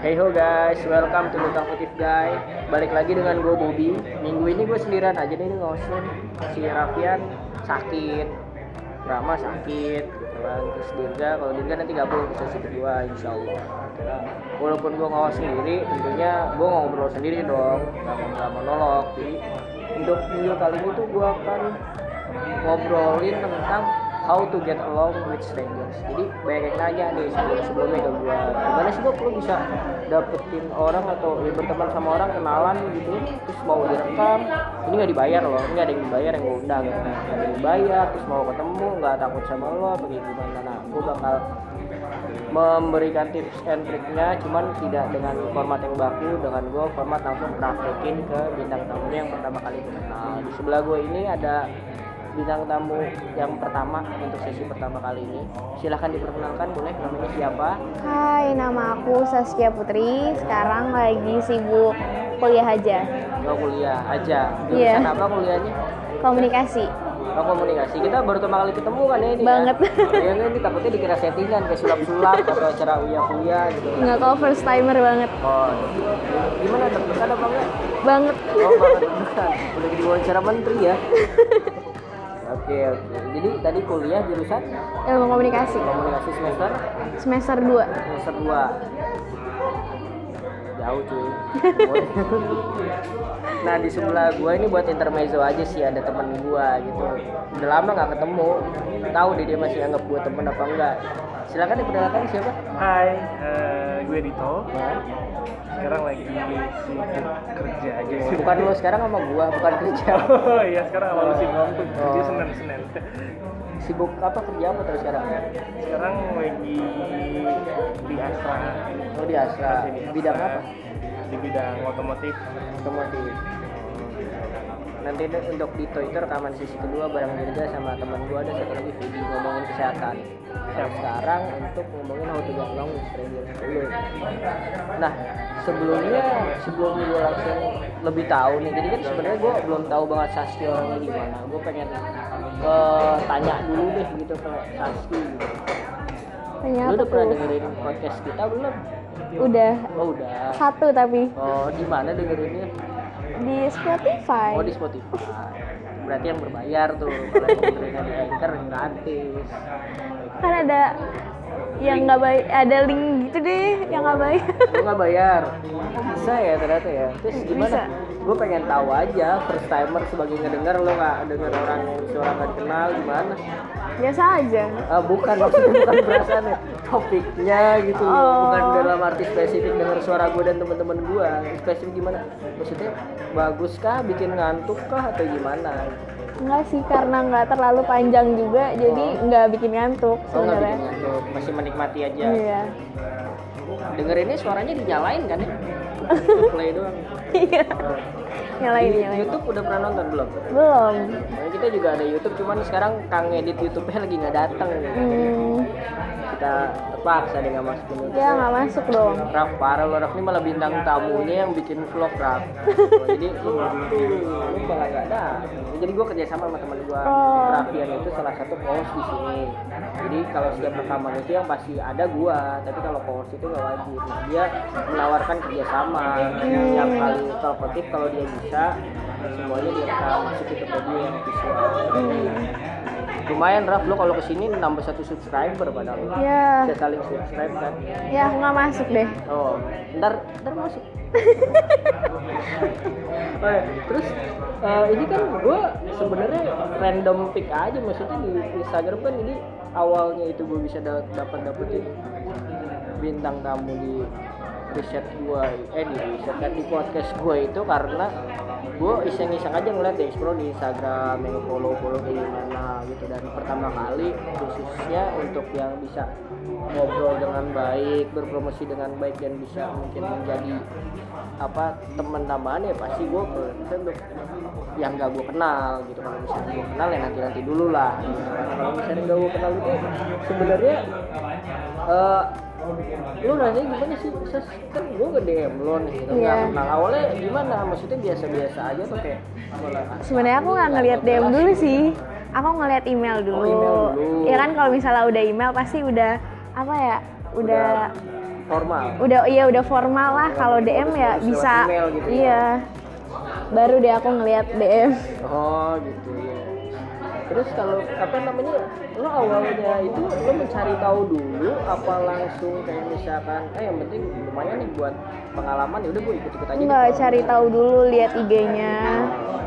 Hey ho guys, welcome to Lutang Putih Guy Balik lagi dengan gue Bobby Minggu ini gue sendirian aja nih ngosin Si Rafian sakit Rama sakit gitu kan. Terus Dirga, kalau Dirga nanti gabung ke sesi kedua insya Allah gitu kan. Walaupun gue ngawas sendiri, tentunya gue ngobrol sendiri dong Gak mau gak monolog Jadi untuk minggu kali ini tuh gue akan ngobrolin tentang how to get along with strangers jadi banyak yang nanya nih sebelum sebelumnya ke gue gimana sih gue perlu bisa dapetin orang atau ya, berteman sama orang kenalan gitu terus mau direkam ini nggak dibayar loh ini ada yang dibayar yang gue undang gitu nggak ada yang dibayar terus mau ketemu nggak takut sama lo apa kayak gimana nah gue bakal memberikan tips and triknya cuman tidak dengan format yang baku dengan gue format langsung praktekin ke bintang tamunya yang pertama kali gue kenal di sebelah gue ini ada bintang tamu yang pertama untuk sesi pertama kali ini silahkan diperkenalkan boleh namanya siapa Hai, nama aku Saskia Putri. Sekarang lagi sibuk kuliah aja, mau kuliah aja Iya. jurusan apa kuliahnya komunikasi. Oh, komunikasi kita baru pertama kali ketemu kan ya ini Banget. kan? ya ini takutnya dikira settingan kayak sulap-sulap atau acara uya-uya gitu Nggak kau first timer banget, oh gimana terkesan apa enggak banget. Oh, banget bukan. Udah jadi wawancara menteri ya. Oke, oke. Jadi tadi kuliah jurusan Ilmu komunikasi, komunikasi semester semester 2 semester 2. Jauh cuy. nah, di sebelah gua ini buat intermezzo aja sih ada teman gua gitu. Udah lama nggak ketemu. Tahu deh dia masih anggap gua temen apa enggak. Silakan diperkenalkan siapa? Hai, eh, gue Dito. Nah, Sekarang lagi sibuk kerja aja ya. bukan lo sekarang sama gua, bukan kerja. Oh iya, sekarang awal sibuk aku kerja Oh. Senin Senin. Sibuk apa kerja apa terus sekarang? Sekarang lagi di asrama. Lo Nah, di Asra. Masih di Oh, Bidang asrama. apa? Di bidang otomotif. otomotif nanti deh untuk di Twitter rekaman sisi kedua bareng Dirga sama teman gua ada satu lagi video ngomongin kesehatan Nah, sekarang untuk ngomongin how to get along with strangers dulu nah sebelumnya sebelum gue langsung lebih tahu nih jadi kan sebenarnya gue belum tahu banget Saski orangnya gimana gue pengen ke tanya dulu deh gitu ke Saski gitu. lu Tanya apa udah pernah tuh? dengerin podcast kita belum Udah oh udah satu tapi oh di mana dengerinnya di Spotify. Oh di Spotify. Berarti yang berbayar tuh. Kalau yang dengerinnya di Anchor gratis. Kan ada yang nggak baik, ada link gitu deh yang nggak baik. Lu nggak bayar. Bisa ya ternyata ya. Terus Bisa. gimana? Gue pengen tahu aja first timer sebagai ngedenger lo nggak denger orang yang suara nggak dikenal gimana? Biasa aja. Ah, bukan maksudnya bukan perasaannya, topiknya gitu. Oh. Bukan dalam arti spesifik denger suara gue dan teman-teman gue. Spesifik gimana? Maksudnya bagus kah, bikin ngantuk kah atau gimana? Enggak sih karena nggak terlalu panjang juga, jadi nggak bikin ngantuk Oh nggak bikin sebenarnya. ngantuk, masih menikmati aja. Iya. dengerinnya suaranya dinyalain kan ya play doang Iya. nyalain Di nyalain. YouTube udah pernah nonton belum Belum. Nah, kita juga ada YouTube cuman sekarang kang edit YouTube-nya lagi nggak datang Hmm. kita terpaksa deh nggak masukin YouTube. Ya nggak masuk dong. Raf parah lo Raf ini malah bintang tamunya yang bikin vlog Raf jadi lu lu malah nggak ada jadi gue kerja sama sama teman gue Oh. Rafian itu salah satu host di sini jadi kalau setiap rekaman itu yang pasti ada gue tapi kalau host itu nggak wajib nah, dia menawarkan kerjasama setiap kali telepotif kalau dia bisa semuanya dia rekam masuk itu ke dia yang visual Hmm, lumayan Raf lo kalau kesini nambah satu subscriber padahal Ya, bisa saling subscribe kan ya aku nggak masuk deh. Oh, ntar ntar masuk. Oh, ya. Terus eh, ini kan gue sebenarnya random pick aja maksudnya di Instagram kan ini awalnya itu gue bisa dapat dapetin bintang tamu di riset gue eh di riset kan di podcast gue itu karena gue iseng-iseng aja ngeliat deh explore di Instagram yang follow follow kayak gimana gitu dan pertama kali khususnya untuk yang bisa ngobrol dengan baik berpromosi dengan baik dan bisa mungkin menjadi apa teman tambahan ya pasti gue ke ke untuk yang gak gue kenal gitu kalau misalnya gue kenal ya nanti nanti dulu lah gitu. kalau misalnya gak gue kenal itu sebenarnya eh lu rasanya gimana sih Ses, kan gue ke DM lo nih gitu Iya. nggak kenal awalnya gimana maksudnya biasa-biasa aja tuh kayak mulai Sebenarnya aku nggak ngelihat DM dulu sih. Aku ngelihat email dulu. Oh, email dulu. Ya kan kalau misalnya udah email pasti udah apa ya? Udah formal udah iya udah formal lah kalau DM ya Terus lewat bisa email gitu ya? iya baru deh aku ngelihat DM oh gitu ya terus kalau apa namanya lo awalnya itu lo mencari tahu dulu apa langsung kayak misalkan eh yang penting lumayan nih buat pengalaman ya udah gue ikut ikut aja deh." nggak cari tahu dulu lihat IG-nya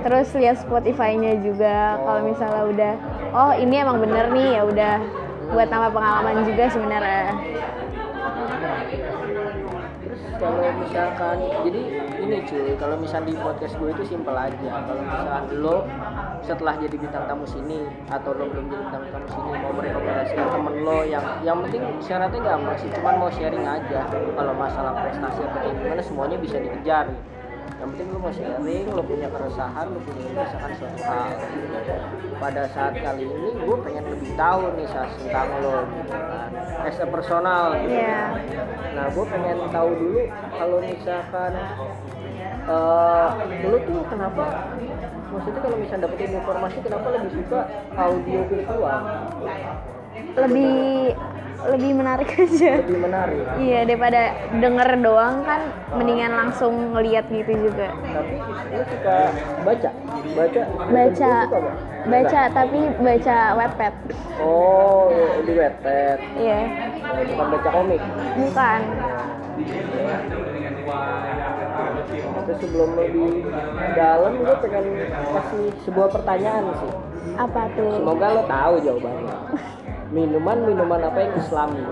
terus lihat Spotify-nya juga kalau misalnya udah oh ini emang bener nih ya udah buat tambah pengalaman juga sebenarnya Terus kalau misalkan jadi ini cuy, kalau misal di podcast gue itu simpel aja. Kalau misal lo setelah jadi bintang tamu sini atau lo belum jadi bintang tamu sini mau merekomendasikan temen lo yang yang penting syaratnya gampang sih, cuman mau sharing aja. Kalau masalah prestasi atau kayak gimana semuanya bisa dikejar. Yang penting lo mau sharing, lo punya keresahan, lo punya keresahan suatu hal. Pada saat kali ini gue pengen lebih tahu nih Sas, tentang lo gitu kan. As a personal gitu Iya. Nah, gue pengen tahu dulu kalau misalkan eh lu tuh kenapa maksudnya kalau misalnya dapetin informasi kenapa lebih suka audio virtual lebih lebih menarik aja lebih menarik iya daripada denger doang kan mendingan langsung ngelihat gitu juga tapi lu suka baca baca baca Lu suka nggak? baca tapi baca webpad oh di webpad iya Eh, bukan baca komik bukan terus sebelum lebih dalam gue pengen kasih sebuah pertanyaan sih apa tuh Semoga lo tahu jawabannya. Minuman-minuman apa yang islami?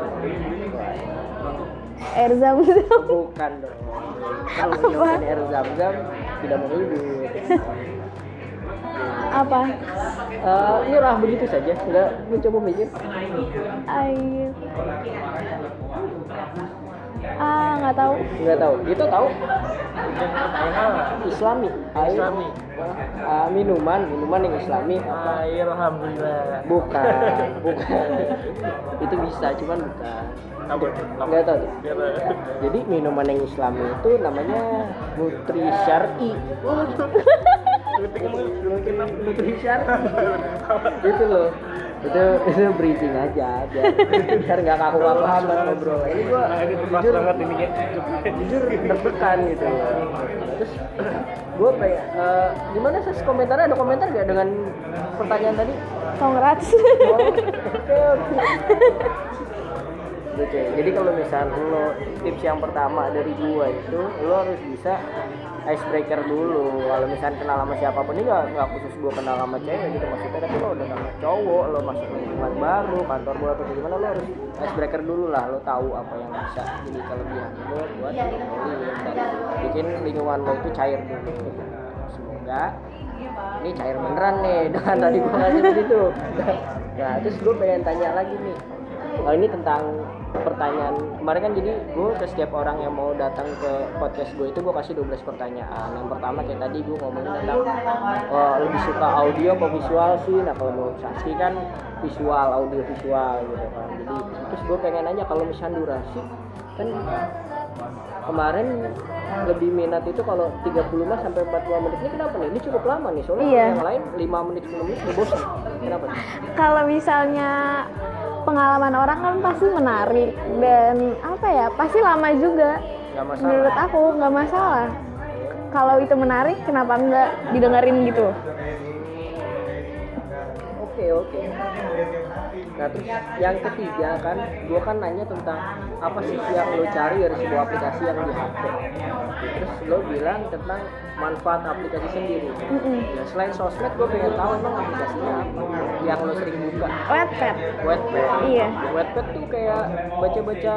air zam zam Bukan dong. Kalau minuman air zam-zam tidak mau ribut. apa Eh, nyerah begitu saja, nggak mencoba mikir. air ah nggak tahu Nggak tahu. Itu tahu? Islami. Air. Islami. Ah, minuman, minuman yang islami. Air, Ah, iya, alhamdulillah. Bukan, bukan. Itu bisa, cuman bukan. Apa? Nggak tahu. tuh. Biar, eh, Jadi minuman yang islami itu namanya Nutri Syari. kritik mulu. nutrition itu loh itu itu briefing aja biar biar nggak kaku kaku amat ngobrol ini gua Nah, ini pas jujur banget ini ya. jujur deg-degan gitu loh. terus gua pengen eh, gimana sih komentarnya ada komentar nggak dengan pertanyaan tadi congrats Oke, Gitu. jadi kalau misal lo tips yang pertama dari gua itu lo harus bisa icebreaker dulu. Kalau misal kenal sama siapapun ini nggak nggak khusus gua kenal sama cewek gitu maksudnya, tapi lo udah kenal cowok, lo masuk lingkungan baru, kantor baru atau gimana lo harus icebreaker dulu lah. Lo tahu apa yang bisa jadi kelebihan lo buat diobrolin dan bikin lingkungan lo itu cair dulu. Semoga ini cair beneran nih dengan tadi gue ngasih begitu nah terus gue pengen tanya lagi nih kalau ini tentang pertanyaan kemarin kan jadi gue ke setiap orang yang mau datang ke podcast gue itu gue kasih 12 pertanyaan yang pertama kayak tadi gue ngomongin tentang oh, lebih suka audio apa visual sih nah kalau menurut Saski kan visual audio visual gitu kan jadi terus gue pengen nanya kalau misalnya durasi kan kemarin lebih minat itu kalau 35 sampai 40 menit ini kenapa nih? Ini cukup lama nih soalnya Iya. yang lain 5 menit 10 menit udah bosan. Kenapa? nih? kalau misalnya pengalaman orang kan pasti menarik dan apa ya pasti lama juga Gak masalah. menurut aku nggak masalah kalau itu menarik kenapa nggak didengerin gitu Oke oke. Nah terus yang ketiga kan, gua kan nanya tentang apa sih yang lo cari dari sebuah aplikasi yang di HP. Terus lo bilang tentang manfaat aplikasi sendiri. Mm-mm. Ya, selain sosmed, gue pengen tahu emang aplikasinya apa yang lo sering buka. Wattpad Wattpad. Iya. Wattpad tuh kayak baca-baca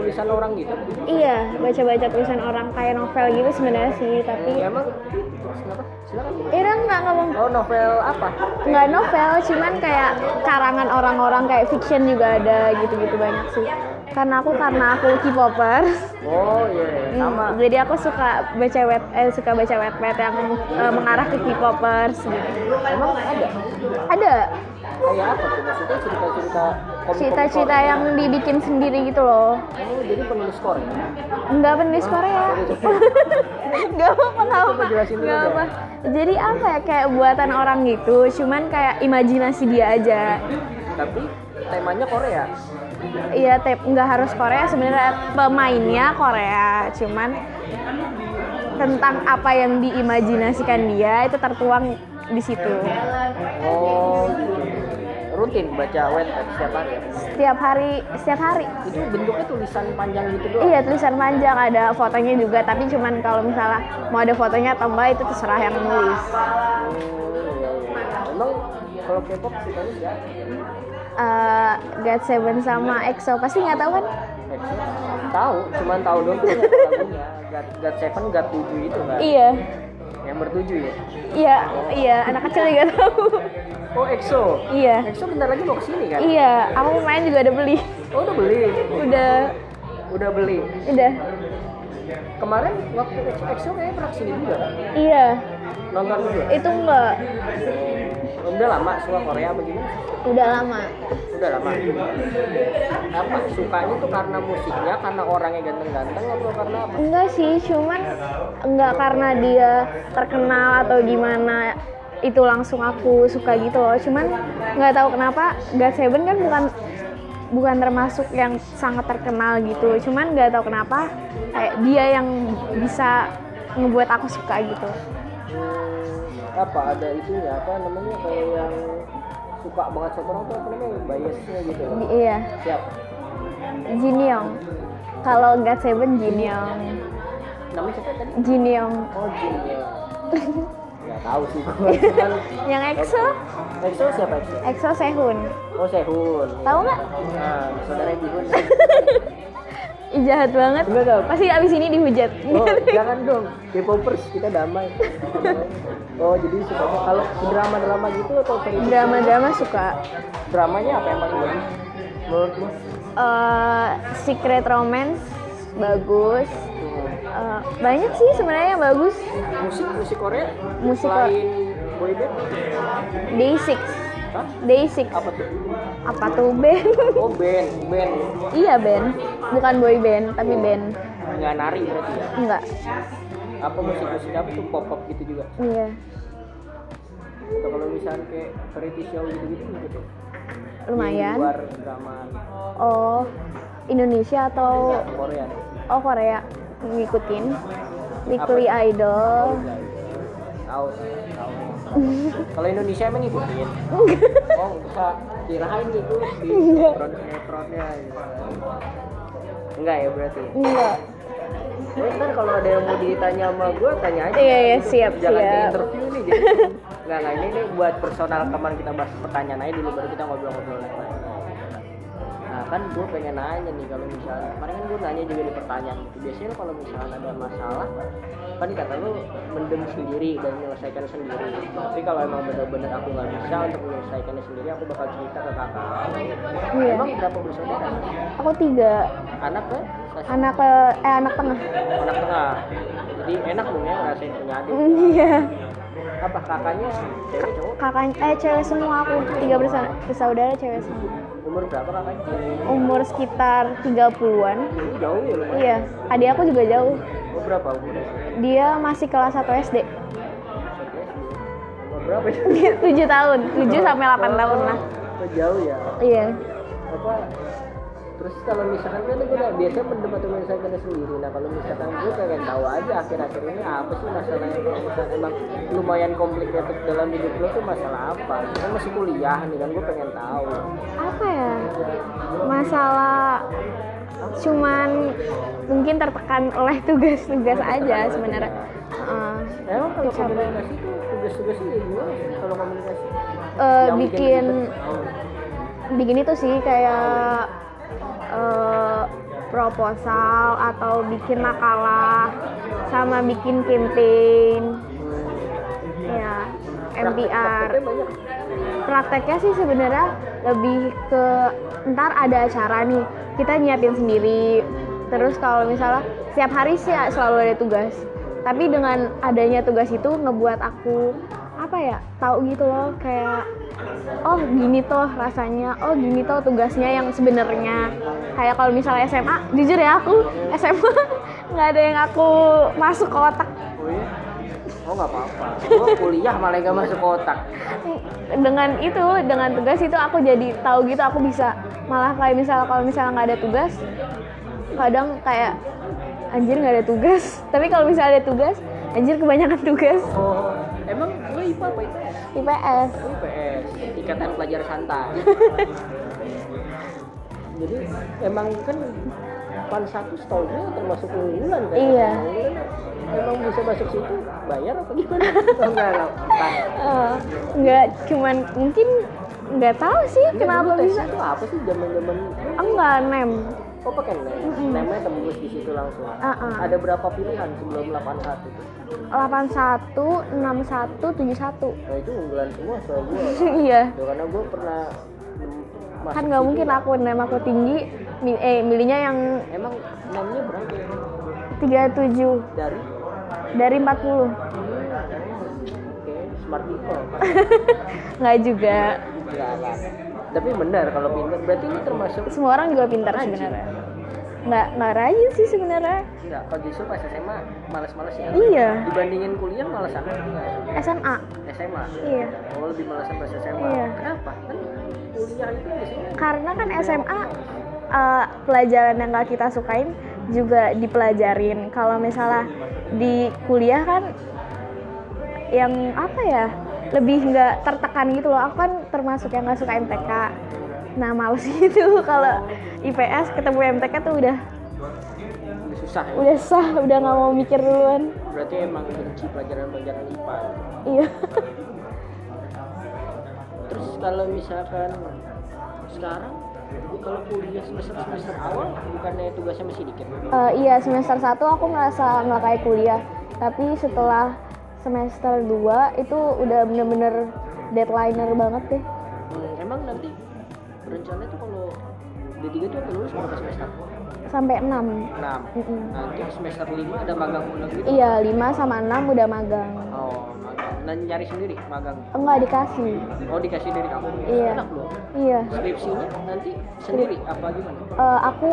tulisan orang gitu. iya baca-baca tulisan orang kayak novel gitu sebenarnya sih tapi Ya, emang kenapa? Silakan. Ira nggak ngomong Oh novel apa? nggak novel cuman kayak karangan orang-orang kayak fiction juga ada gitu-gitu banyak sih karena aku karena aku K-popers Oh iya, Hmm, sama. Jadi aku suka baca web eh, suka baca webpad yang eh, mengarah ke K-popers gitu. Emang ada? Ada Kayak apa tuh? Maksudnya cerita-cerita komik-komik cerita-cerita Korea. yang dibikin sendiri gitu Oh, loh. jadi penulis Korea. Enggak penulis Korea. Enggak apa-apa, nggak Coba apa. jelasin dulu Nggak dong. apa. Jadi apa ya kayak buatan orang gitu, cuman kayak imajinasi dia aja. tapi temanya Korea Iya, tep nggak harus Korea sebenarnya pemainnya Korea, cuman tentang apa yang diimajinasikan dia itu tertuang di situ. oh rutin baca webpad setiap hari ya? Setiap hari, setiap hari. itu bentuknya tulisan panjang gitu doang Iya, tulisan panjang ada fotonya juga, tapi cuman kalau misalnya mau ada fotonya atau enggak itu terserah yang nulis. Hmm, iya, iya. emang kalau K-pop sukanya siapa? Eh, God Seven sama EXO pasti nggak tahu kan? EXO? Tahu, cuman tahu doang tuh lagunya. God, God Seven, God 7 itu kan. Iya, Yang bertujuh ya. iya, iya. Anak kecil juga tahu. Oh EXO. Iya, EXO bentar lagi mau kesini kan? iya. Aku main juga udah beli, Oh udah beli. udah, Udah beli. udah. Kemarin waktu EXO kayaknya pernah kesini juga kan? Iya, Nonton juga. itu enggak. Oh, Udah lama suka Korea apa gimana? Udah lama. Udah lama. Apa sukanya tuh karena musiknya, karena orangnya ganteng-ganteng atau karena apa? Enggak sih, cuman enggak karena dia terkenal atau gimana itu langsung aku suka gitu loh. Cuman nggak tahu kenapa God Seven kan bukan bukan termasuk yang sangat terkenal gitu. Cuman nggak tahu kenapa kayak dia yang bisa ngebuat aku suka gitu. apa ada itunya apa namanya kayak yang suka banget sama orang tuh apa namanya biasnya gitu loh. Di- iya, siap Jin Young. Kalau God Seven Jin Young. namanya siapa ya tadi Jin Young. oh Jin ya nggak tahu sih gua cuman Yang EXO, EXO siapa EXO EXO Sehun. oh Sehun Tahu nggak? nah saudara Bihun Ih, jahat banget. Enggak tahu. Pasti abis ini dihujat. oh jangan dong K-popers kita damai oh jadi suka kalau drama drama gitu atau kayak Drama-drama suka. dramanya apa yang paling bagus menurut lu Eh, Secret Romance bagus. Hmm. Eh, banyak sih sebenarnya yang bagus. musik musik Korea Musik Korea. selain boyband Day 6. Hah? Day 6. apa tuh Apa tuh band? Oh band, band iya band. Bukan boy band, tapi band. nggak nari berarti ya? Enggak. Apa musik musik apa tuh pop pop gitu juga? Iya. Atau kalau misalnya kayak variety show gitu gitu gitu. Di Lumayan. luar drama Oh, Indonesia atau Korea. oh Korea ngikutin. Weekly Idol. gitu. Tahu, tahu. kalau Indonesia emang ngikutin? Oh enggak, kirain gitu di sinetron sinetronnya. gitu. Enggak ya berarti. Enggak. Lu ntar kalau ada yang mau ditanya sama gue tanya aja. Iya, iya, Gitu. siap, Jangan di siap. interview nih. Jadi. nggak nggak ini nih buat personal kemarin kita bahas pertanyaan aja dulu baru kita ngobrol-ngobrol lain. Nah kan gue pengen nanya nih kalau misalnya kemarin kan gue nanya juga di pertanyaan itu biasanya lo kalau misalnya ada masalah kan kata lu mendem sendiri dan menyelesaikan sendiri tapi kalau emang bener-bener aku nggak bisa untuk menyelesaikannya sendiri aku bakal cerita ke kakak Iya. emang berapa bersaudara Aku tiga anak ke anak eh anak tengah. anak tengah jadi enak dong ya ngerasain punya adik Iya. apa kakaknya cewek cowok kakak eh cewek semua aku tiga bersa- bersaudara cewek semua umur berapa kakaknya umur sekitar 30-an Ini jauh ya lumayan iya adik aku juga jauh umur berapa umurnya dia masih kelas 1 SD umur berapa ya 7 tahun 7 sampai 8 tahun lah Oh, jauh ya iya apa terus kalau misalkan kan gue udah biasa mendem atau misalkan sendiri nah kalau misalkan gue pengen tahu aja akhir-akhir ini apa sih masalah yang kalau misalkan emang lumayan komplikated dalam hidup lo tuh masalah apa kan masih kuliah nih kan gue pengen tahu apa ya masalah cuman mungkin tertekan oleh tugas-tugas aja sebenarnya Heeh. emang kalau komunikasi tuh tugas-tugasnya kayak gimana sih kalau komunikasi Eh, Yang gitu. bikin ribet. bikin itu sih kayak eh, proposal atau bikin makalah sama bikin campaign ya Praktek-prakteknya MPR banyak. prakteknya sih sebenarnya lebih ke ntar ada acara nih kita nyiapin sendiri terus kalau misalnya setiap hari sih selalu ada tugas tapi dengan adanya tugas itu ngebuat aku apa ya tahu gitu loh kayak oh gini toh rasanya oh gini toh tugasnya yang sebenarnya kayak kalau misalnya SMA jujur ya aku SMA nggak ada yang aku masuk ke otak Oh iya? oh nggak apa-apa gue kuliah malah gak masuk kotak dengan itu dengan tugas itu aku jadi tahu gitu aku bisa malah kayak misalnya kalau misalnya nggak ada tugas kadang kayak anjir nggak ada tugas tapi kalau misalnya ada tugas anjir kebanyakan tugas oh emang lo IPA apa IPS? IPS Lo IPS ikatan pelajar santai jadi emang kan pan satu setahunnya termasuk unggulan kan Iya. Unggulan, emang bisa masuk situ bayar apa gimana oh, enggak enggak Pan. Eh, nggak cuman mungkin nggak tahu sih kenapa Tes bisa itu apa sih zaman-zaman enggak nem Oh pakai name, name-nya tembus di situ langsung. Uh-uh. Ada berapa pilihan sebelum 81 itu? 81 61 Nah itu unggulan semua soal gue. 71 iya Ya, karena gue pernah mm, masuk kan nggak situ. mungkin aku nem aku tinggi mi- eh milihnya yang Emang name-nya berapa? 37 Dari? dari 40 Oke, smart people. nggak juga Enggak lah. Tapi benar kalau pinter berarti lu termasuk semua orang juga pintar Rajin. sebenarnya nggak nggak rajin sih sebenarnya enggak kalau justru pas SMA malas-malas ya. Iya. Dibandingin kuliah malasan enggak? SMA SMA. iya Oh lebih malasan pas SMA. Iya. Kenapa? Kan kuliah itu biasanya karena kan SMA eh, pelajaran yang nggak kita sukain juga dipelajarin kalau misalnya di kuliah kan yang apa ya lebih nggak tertekan gitu loh aku kan termasuk yang nggak suka MTK nah males gitu kalau IPS ketemu MTK tuh udah susah ya. udah sah udah nggak mau mikir duluan Berarti emang benci pelajaran-pelajaran IPA. iya Terus kalau misalkan sekarang kalau kuliah semester semester awal bukannya tugasnya masih dikit? Eh, iya semester 1 aku merasa nggak kayak kuliah tapi setelah semester 2 itu udah bener-bener deadlineer banget deh Hmm, emang nanti rencananya tuh kalau D3 tuh apa lulus berapa semester? sampai 6 6 Nanti semester 5 ada magang ulang gitu? iya 5 sama 6 udah magang Oh, magang. Nah, nyari sendiri magang? enggak dikasih Oh, dikasih dari kamu? Iya. Enak loh. iya Skripsinya nanti sendiri apa gimana? Eh, aku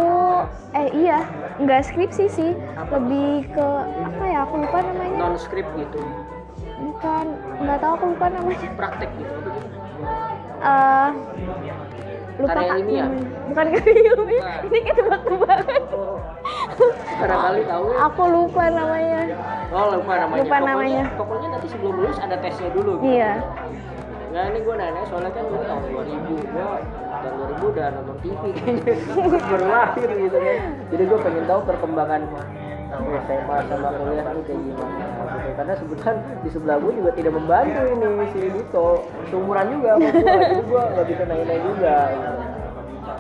eh iya nggak skripsi sih lebih ke apa ya aku lupa namanya Non script gitu, bukan nggak tahu aku lupa namanya praktek gitu. apa gimana? Eh lupa Karya Kak, ilmiah? namanya. bukan karya ilmiah Nah. ini ketebak-tebakan Barangkali tahu ya. aku lupa namanya Oh lupa namanya. Lupa Pokoknya- namanya. Pokoknya nanti sebelum lulus ada tesnya dulu. Gitu. Iya. Nah ini gue nanya soalnya kan gue tahun 2000 gue tahun 2000 udah nonton TV kayaknya baru lahir gitu kan. Jadi gue pengen tahu perkembangan SMA sama kuliah tuh kayak gimana gitu. Karena sebetulan di sebelah gue juga tidak membantu ini si Dito seumuran juga sama gue jadi gue gak bisa nanya-nanya juga gitu. Nah,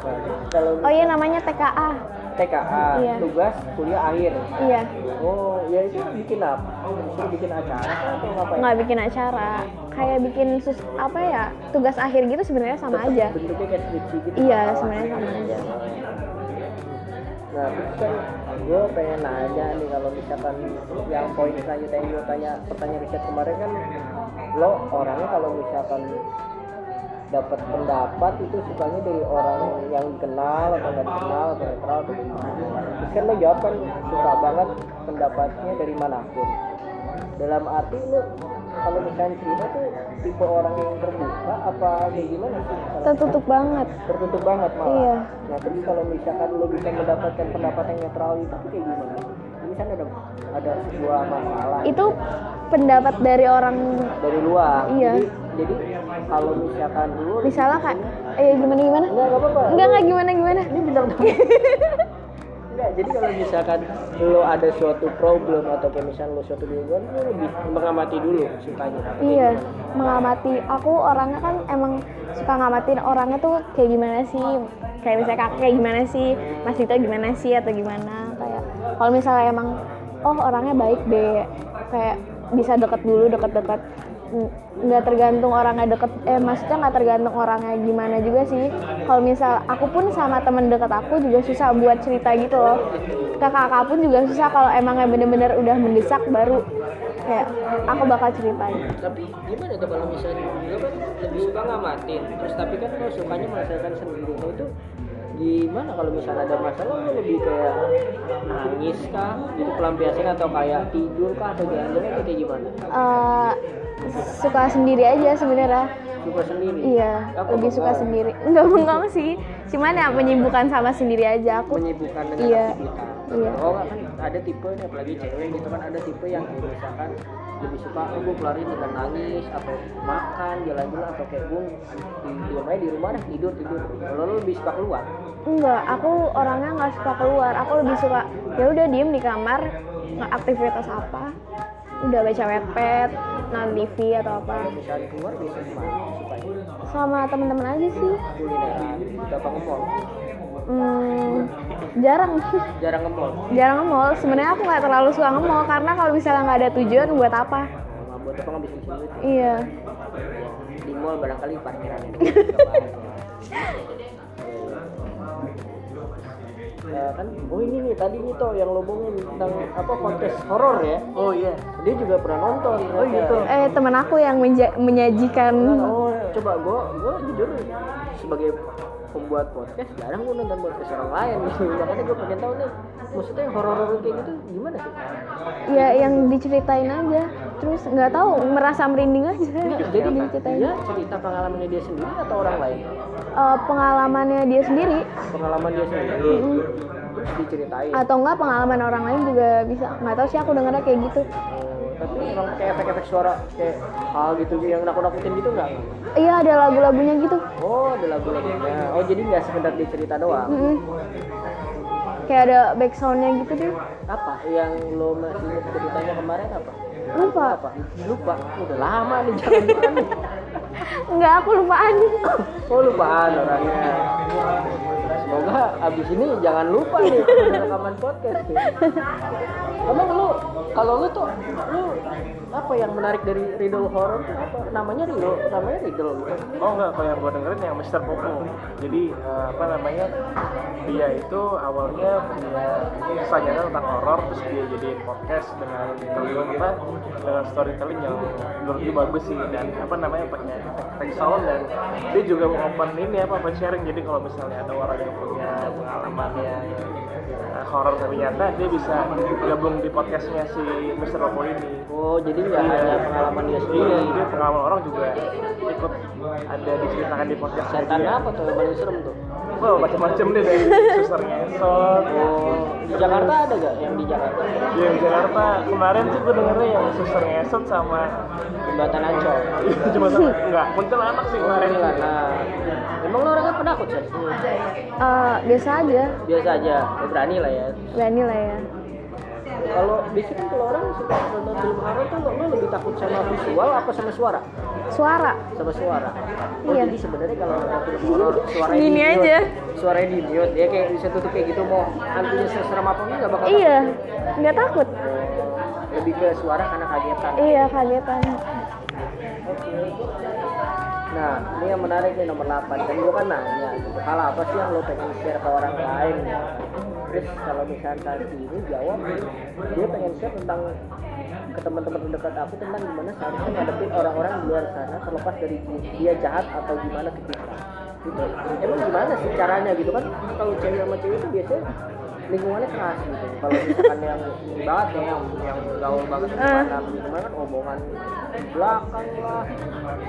kalau Oh iya namanya TKA. TKA Iya. tugas kuliah akhir Iya. Oh, ya itu bikin apa? Suruh bikin acara kah atau ngapain? Nggak bikin acara, kayak bikin sus apa ya tugas akhir gitu sebenarnya sama Tetep aja. Bentuknya kayak skripsi gitu. Iya masalah. sebenarnya sama aja. Nah, terus kan gue pengen nanya nih kalau misalkan yang poin selanjutnya yang gue tanya pertanyaan riset kemarin kan lo orangnya kalau misalkan dapat pendapat itu sukanya dari orang yang dikenal atau nggak dikenal atau netral atau gimana terus kan lo jawab kan suka banget pendapatnya dari manapun dalam arti lo kalau misalnya cerita tuh tipe orang yang terbuka apa kayak gimana sih Kalau- Tertutup banget. tertutup banget malah. Iya. Nah terus kalau misalkan lo bisa mendapatkan pendapat yang netral itu tuh kayak gimana? Misalnya ada ada sebuah masalah Itu pendapat dari orang dari luar. Iya. Jadi, jadi kalau misalkan lo misalnya kayak eh gimana gimana? enggak enggak apa-apa. Enggak enggak gimana gimana. Ini bener banget. Enggak, jadi kalau misalkan lo ada suatu problem atau kayak misalnya lo suatu gangguan, lo lebih mengamati dulu sukanya. Kayak Iya, gimana? mengamati. Aku orangnya kan emang suka ngamatin orangnya tuh kayak gimana sih, kayak misalnya kakak kayak gimana sih, Mas Dito gimana sih atau gimana kayak. Kalau misalnya emang oh orangnya baik deh, kayak bisa deket dulu deket-deket N- nggak tergantung orangnya deket eh maksudnya nggak tergantung orangnya gimana juga sih kalau misal aku pun sama temen deket aku juga susah buat cerita gitu loh ke kakak pun juga susah kalau emangnya bener-bener udah mendesak baru kayak aku bakal ceritain tapi gimana tuh kalau misalnya lo kan lebih suka ngamatin terus tapi kan lo sukanya merasakan sendiri lo itu gimana kalau misalnya ada masalah lu lebih kayak nangis kah itu pelampiasan atau kayak tidur kah atau jalan-jalan atau kayak gimana Eh, suka sendiri aja sebenarnya suka sendiri iya Apa lebih suka bukan? sendiri nggak bengong sih cuman ya menyibukkan sama sendiri aja aku menyibukkan dengan Iya. aktivitas. Iya. Oh kan ada tipe nih apalagi cewek gitu kan ada tipe yang kayak misalkan lebih suka oh, gue kelarin dengan nangis atau makan jalan-jalan atau kayak gue di- diem aja di rumah deh tidur tidur. Kalau lu lebih suka keluar. Enggak, aku orangnya nggak suka keluar. Aku lebih suka ya udah diem di kamar, nggak aktivitas apa, udah baca webpad, nonton TV atau apa. Kalau misalnya keluar biasanya kemana? Suka Sama teman-teman aja sih, kulineran, gampang ke mall. hmm, jarang, Jarang ke mall. jarang nge-mall. Sebenarnya aku nggak terlalu suka nge-mall karena kalau misalnya nggak ada tujuan buat apa? Nggak buat apa ngabisin duit. Iya, Di mall barangkali parkiran itu. Ya kan, oh ini nih tadi nih toh yang lo bohongin tentang apa kontes horor ya. Oh iya. dia juga pernah nonton oh gitu eh teman aku yang menja- menyajikan. oh coba gue gue jujur sebagai pembuat podcast jarang gue nonton podcast orang lain gitu makanya gue pengen tahu nih maksudnya yang horor-horor kayak gitu gimana sih Ya yang diceritain aja, terus nggak tahu merasa merinding aja. jadi diceritain. dia Iya, cerita pengalamannya dia sendiri atau orang lain Eh, pengalamannya dia sendiri pengalaman dia sendiri terus diceritain atau enggak pengalaman orang lain juga bisa nggak tahu sih aku dengarnya kayak gitu Oh, tapi emang kayak efek-efek suara kayak hal gitu yang nakut-nakutin gitu nggak iya ada lagu-lagunya gitu oh ada lagu-lagunya oh jadi nggak sekedar dia cerita doang Mm-mm. kayak ada back soundnya gitu deh apa yang lo masih ingat ceritanya kemarin apa lupa apa lupa udah lama nih jangan lupa nih. nggak aku lupaan oh lupaan orangnya semoga abis ini jangan lupa nih ada rekaman podcast nih. emang lu kalau lu tuh lu apa yang menarik dari riddle horror tuh apa namanya riddle namanya riddle gitu Oh enggak, kalau yang gue dengerin yang Mr. Popo. Jadi eh, apa namanya? Dia itu awalnya punya kesadaran tentang horor terus dia jadiin podcast dengan storytelling apa dengan storytelling yang menurut gue bagus sih dan apa namanya punya efek sound dan dia juga open ini apa open sharing jadi kalau misalnya ada orang yang punya pengalaman yang eh, horor tapi nyata dia bisa gabung di podcastnya si Mr. Popo ini oh jadi nggak Iya. hanya pengalaman dia sendiri Iya, jadi pengalaman orang juga ikut ada diceritakan di podcast setan apa tuh yang paling serem tuh Wah, macam-macam deh dari suster ngesot. oh di Jakarta ada gak yang di Jakarta Iya, di Jakarta kemarin tuh gue dengernya yang suster ngesot sama jembatan Ancol cuma sama enggak muncul anak sih kemarin. nah emang lo orangnya penakut sih Eh, biasa aja biasa aja lo berani lah ya berani lah ya Kalau biasanya kan kalau orang suka nonton film horor tuh lo lebih takut sama visual apa sama suara? suara Sama suara. Oh, Iya. jadi sebenarnya kalau nonton film horor suara Gini aja. Suara di mute ya kayak bisa tutup kayak gitu mau hantunya seserem apa enggak nggak bakal takut. iya nggak takut Lebih ke suara karena kagetan. iya kagetan Oke. Nah, ini yang menarik nih nomor 8 Dan gue kan nanya gitu, hal apa sih yang lo pengen share ke orang lain Terus kalau misalnya tadi ini jawab Dia pengen share tentang ke teman-teman terdekat aku tentang gimana seharusnya ngadepin orang-orang di luar sana terlepas dari dia jahat atau gimana ke kita gitu. emang gimana sih caranya gitu kan kalau cewek sama cewek itu biasanya lingkungannya keras gitu kalau misalkan yang ini banget ya yang yang gaul banget Eh. Nah, gimana kan omongan di belakang lah,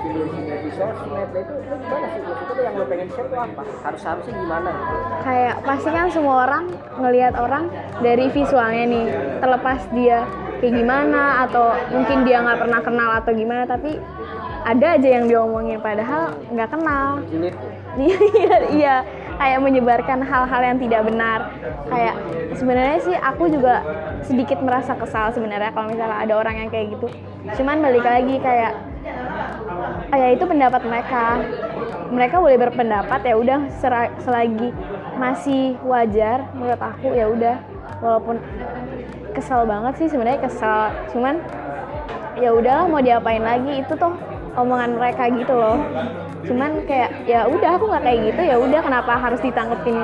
video-video di sosmed, nah itu lu gimana sih? Maksudnya tuh yang lo pengen share tuh apa? Harus harusnya gimana gitu? kayak pasti kan semua orang ngelihat orang dari visualnya nih terlepas dia kayak gimana atau mungkin dia nggak pernah kenal atau gimana tapi ada aja yang diomongin padahal nggak kenal Julid tuh. iya iya kayak menyebarkan hal-hal yang tidak benar kayak sebenarnya sih aku juga sedikit merasa kesal sebenarnya kalau misalnya ada orang yang kayak gitu cuman balik lagi kayak "Ah, ya itu pendapat mereka mereka boleh berpendapat ya udah sera- selagi masih wajar menurut aku ya udah walaupun kesal banget sih sebenarnya kesal cuman ya udahlah mau diapain lagi itu tuh omongan mereka gitu loh cuman kayak ya udah aku nggak kayak gitu ya udah kenapa harus ditanggepin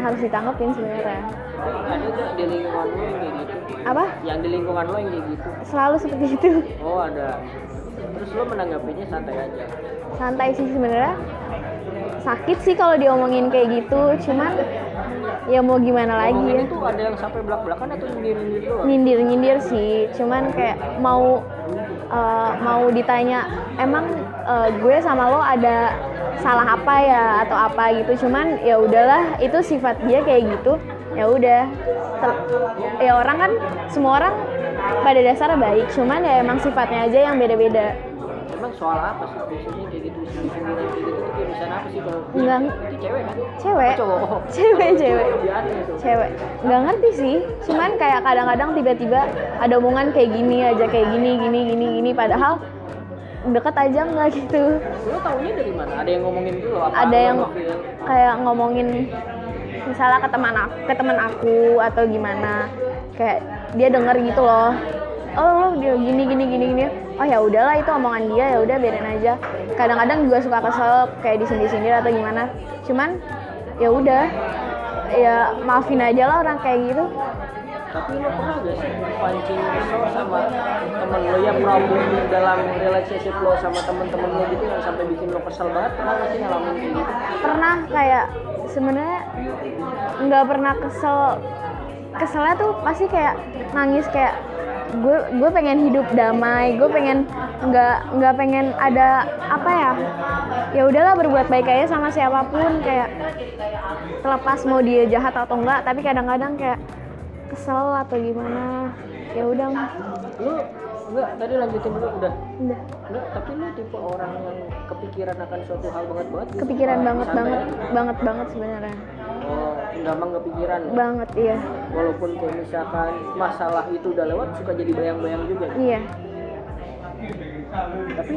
harus ditanggepin sebenarnya Ada tuh di lingkungan lo yang kayak gitu? apa Yang di lingkungan lo yang kayak gitu? selalu seperti itu Oh ada. Terus lo menanggapinya santai aja. santai sih sebenarnya sakit sih kalau diomongin kayak gitu cuman ya mau gimana lagi ya Ngomongin itu ada yang sampai belak-belakan atau nyindir-nyindir doang? nyindir-nyindir sih cuman kayak mau eh, mau ditanya emang eh, gue sama lo ada salah apa ya atau apa gitu cuman ya udahlah itu sifat dia kayak gitu ya udah Ter- ya orang kan semua orang pada dasarnya baik cuman ya emang sifatnya aja yang beda-beda Iya. Emang soal apa sih biasanya kayak gitu sindiran kayak gitu tuh kayak misalnya apa sih kalau Enggak. itu cewek kan? cewek Oh, cowok. cewek cewek Dia gitu. aneh tuh. cewek nggak ngerti sih cuman kayak kadang-kadang tiba-tiba ada omongan kayak gini aja kayak gini gini gini gini padahal deket aja nggak gitu Lo taunya dari mana? Ada yang ngomongin dulu apa? ada lo yang ngefeel? kayak ngomongin misalnya ke teman aku, ke teman aku atau gimana kayak dia denger gitu loh oh lo dia gini gini gini gini oh ya udahlah itu omongan dia ya udah biarin aja kadang-kadang juga suka kesel kayak disindir-sindir atau gimana cuman ya udah ya maafin aja lah orang kayak gitu Tapi lo pernah gak sih pancing kesel sama temen lo yang merambung dalam relationship lo sama temen-temen lo gitu yang sampai bikin lo kesel banget pernah gak sih ngalamin kayak gitu? pernah kayak sebenarnya nggak pernah kesel keselnya tuh pasti kayak nangis kayak gue gue pengen hidup damai gue pengen nggak nggak pengen ada apa ya ya udahlah berbuat baik aja sama siapapun kayak terlepas mau dia jahat atau enggak tapi kadang-kadang kayak kesel atau gimana ya udah Lo enggak tadi lanjutin dulu udah. udah Enggak, tapi lo tipe orang yang kepikiran akan suatu hal banget banget. gitu? kepikiran banget Santai banget aja? banget banget sebenarnya Oh, gampang kepikiran. ya? banget iya Walaupun kayak misalkan masalah itu udah lewat suka jadi bayang-bayang juga. iya Tapi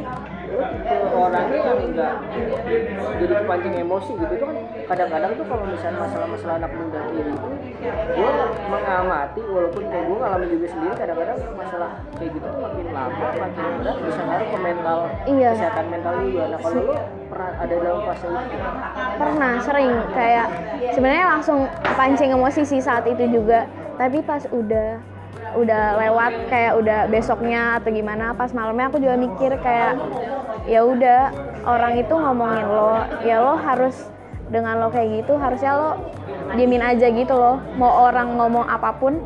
lo tipe orangnya yang enggak jadi kepancing emosi gitu itu kan kadang-kadang tuh kalau misalnya masalah-masalah anak muda kayak gitu gue mengamati walaupun kayak gue ngalamin juga sendiri kadang-kadang masalah kayak gitu tuh makin lama makin berat bisa ngaruh ke mental Iya. kesehatan mental juga nah kalau lo pernah ada dalam fase itu pernah sering kayak sebenarnya langsung kepancing emosi sih saat itu juga tapi pas udah udah lewat kayak udah besoknya atau gimana pas malamnya aku juga mikir kayak ya udah orang itu ngomongin lo ya lo harus dengan lo kayak gitu harusnya lo diemin aja gitu loh mau orang ngomong apapun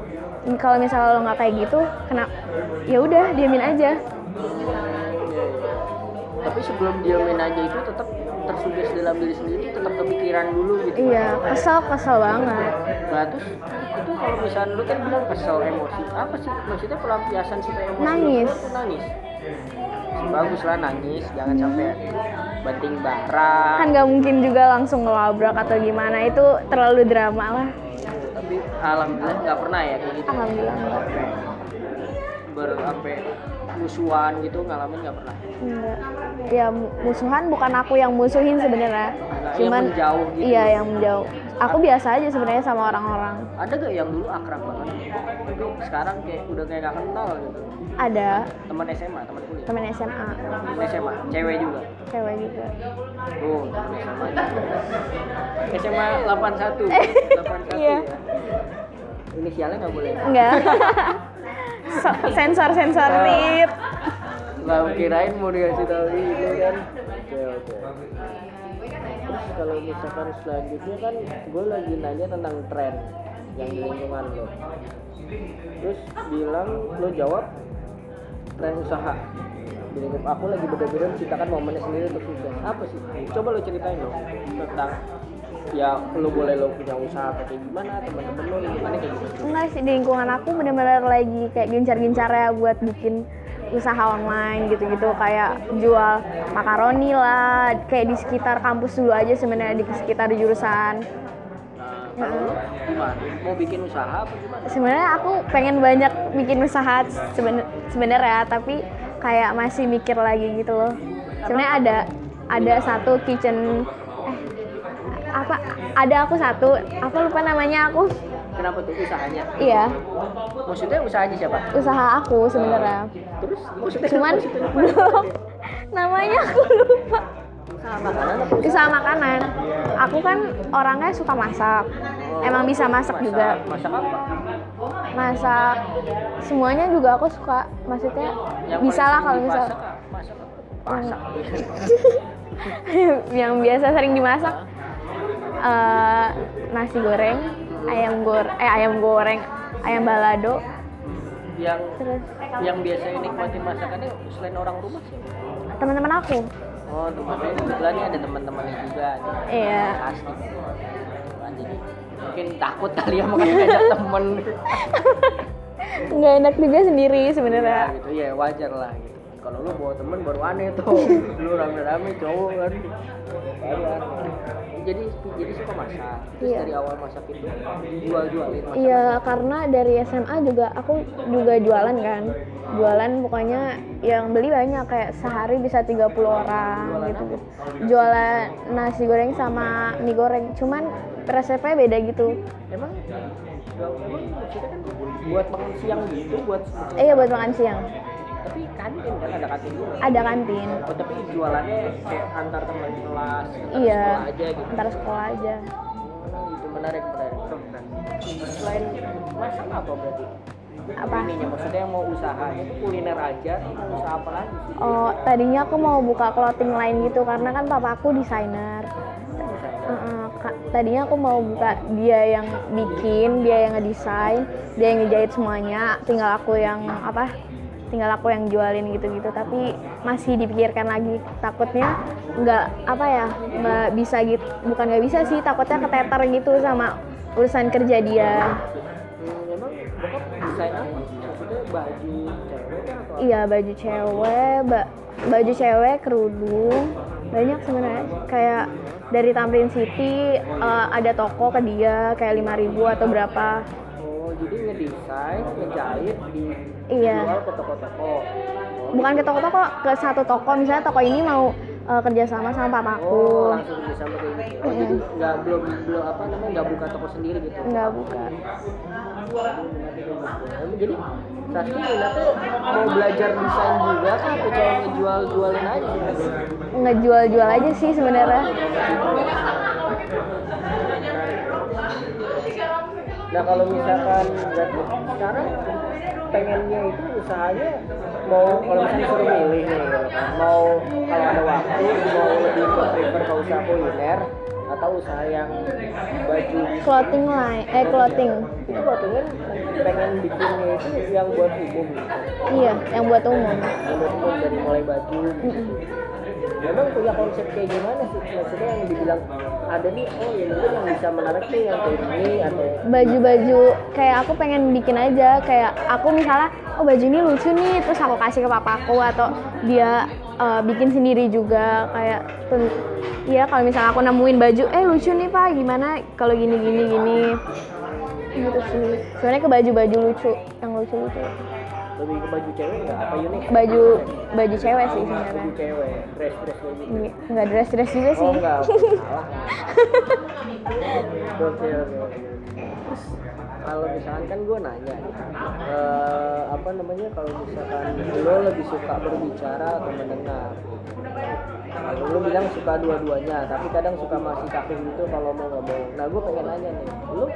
kalau misalnya lo nggak kayak gitu kena ya udah diemin aja tapi sebelum diamin aja itu tetap tersuggest dalam diri sendiri tetap kepikiran dulu gitu iya kesel kesel banget Nah terus itu kalau misalnya lu kan bilang kesel emosi, apa sih maksudnya pelampiasan supaya emosi lu Nangis. keluar tuh nangis. Bagus lah nangis, jangan sampai banting barang. kan nggak mungkin juga langsung ngelabrak atau gimana itu terlalu drama lah Tapi alhamdulillah nggak pernah ya kayak gitu. alhamdulillah enggak. Ber sampai musuhan gitu ngalamin nggak pernah. Enggak. ya mu- musuhan bukan aku yang musuhin Nah, sebenarnya yang cuman menjauh gitu. iya yang menjauh aku biasa aja sebenarnya sama orang-orang Ada gak yang dulu akrab banget? Tapi sekarang kayak udah kayak gak kenal gitu. ada Teman SMA, teman kuliah. temen SMA Teman SMA, cewek juga. cewek juga Oh, SMA SMA 81. 81. Iya. Ya. Inisialnya nggak boleh. enggak sensor sensor rip Nggak kirain mau dikasih tahu gitu kan. Oke, oke. Terus kalau misalkan selanjutnya kan gue lagi nanya tentang tren yang di lingkungan lo. Terus bilang lo jawab tren usaha. Di lingkup aku lagi beda-beda menciptakan momennya sendiri untuk sukses. Apa sih? Coba lo ceritain lo tentang ya lo boleh lo punya usaha kayak gimana teman-teman lo lingkungannya kayak gitu. gimana. Enggak sih, di lingkungan aku bener-bener lagi kayak gencar-gencar ya buat bikin usaha online gitu-gitu kayak jual makaroni lah kayak di sekitar kampus dulu aja sebenarnya di sekitar jurusan Nah, kalau lo gimana? Mau bikin usaha apa gitu? gimana? sebenarnya aku pengen banyak bikin usaha seben- sebenarnya tapi kayak masih mikir lagi gitu loh sebenarnya ada ada satu kitchen eh, apa ada aku satu aku lupa namanya aku Kenapa tuh usahanya? iya Maksudnya usahanya siapa? usaha aku sebenarnya Terus maksudnya cuman maksudnya apa? belum namanya aku lupa usaha makanan apa usaha makanan aku kan orangnya suka masak emang bisa masak juga Masak apa? masak semuanya juga aku suka maksudnya Yang bisa lah paling kalau sering misal dipasak apa? Masak apa? Masak. yang biasa sering dimasak Hah? eh, nasi goreng, ayam goreng, eh ayam goreng, ayam balado, yang terus yang biasanya nikmatin masakannya selain orang rumah siapa? teman-teman aku. Oh, teman-teman kebetulan nih ada teman-temannya juga nih. Iya. Pasti. Jadi mungkin takut kali ya makan ada temen. Nah, Nggak enak juga sendiri sebenarnya. Ya, gitu ya wajar lah gitu. Kalau lu bawa temen baru aneh tuh. lu rame-rame cowok kan. Wajar. Jadi jadi suka masak. Terus Iya. dari awal masak itu jual-jualin masak. Iya, karena dari SMA juga aku juga jualan kan. Jualan pokoknya yang beli banyak kayak sehari bisa 30 orang gitu. Jualan nasi goreng sama mie goreng. Cuman resepnya beda gitu. Emang emang maksudnya kan buat makan siang gitu buat Eh iya, buat makan siang. tapi kantin kan ada kantin juga. Ada kantin. Oh, tapi jualannya kayak antar teman kelas, antar Iya. sekolah aja gitu. Antar sekolah aja. Hmm, itu menarik menarik. Keren. Selain masak apa berarti? Apa? Ininya maksudnya yang mau usaha itu kuliner aja, mau usaha apa lagi? sih? Oh, tadinya aku mau buka clothing lain gitu karena kan papaku desainer. Misalnya. Heeh, Kak, tadinya aku mau buka dia yang bikin, dia yang ngedesain, dia yang ngejahit semuanya, tinggal aku yang apa? Tinggal aku yang jualin gitu-gitu, tapi masih dipikirkan lagi. Takutnya nggak apa ya, nggak bisa gitu, bukan nggak bisa sih, takutnya keteter gitu sama urusan kerja dia. Hmm, emang bokap desain apa? Maksudnya baju cewek kah atau apa? Iya baju cewek, ba- baju cewek, kerudung, banyak sebenarnya. Kayak dari Tamrin City eh, ada toko ke dia kayak 5.000 atau berapa. Oh, jadi ngedesain, ngejahit, di Iya. jual ke toko-toko. Oh, bukan ke toko-toko ke satu toko misalnya toko ini mau eh, kerjasama sama papaku Oh, langsung bisa pakai gitu. Oh, jadi nggak belum belum apa namanya nggak buka toko sendiri gitu. nggak buka Jadi Sasti minatnya mau belajar desain juga kan atau cuma ngejual jualin aja? ngejual-jual aja sih sebenarnya Nah kalau misalkan berarti sekarang pengennya itu usahanya mau kalau misalnya disuruh milih nih, mau kalau ada waktu mau lebih ke prefer ke usaha kuliner atau usaha yang baju clothing line eh clothing itu batunya pengen bikinnya itu yang buat umum gitu. iya yang buat umum menurutku dari mulai baju gitu. Memang punya konsep kayak gimana sih? Maksudnya yang dibilang ada nih, oh ya mungkin yang bisa menarik nih yang kayak gini atau baju-baju kayak aku pengen bikin aja kayak aku misalnya oh baju ini lucu nih terus aku kasih ke papaku atau dia eh, bikin sendiri juga kayak ten- Iya kalau misalnya aku nemuin baju eh lucu nih pak gimana kalau gini gini gini gitu sih sebenarnya ke baju-baju lucu yang lucu-lucu lebih ke baju cewek nggak? Apa unik? baju baju cewek sih sebenarnya Baju cewek, dress dress kayak gitu. Iya, nggak dress dress juga Oh sih enggak, salah. Oke oke. oke. Terus, Kalau misalkan kan gue nanya, eh, apa namanya kalau misalkan lo lebih suka berbicara atau mendengar? Kalau lo bilang suka dua-duanya, tapi kadang suka masih kaku gitu kalau mau ngomong. Nah gue pengen nanya nih, lo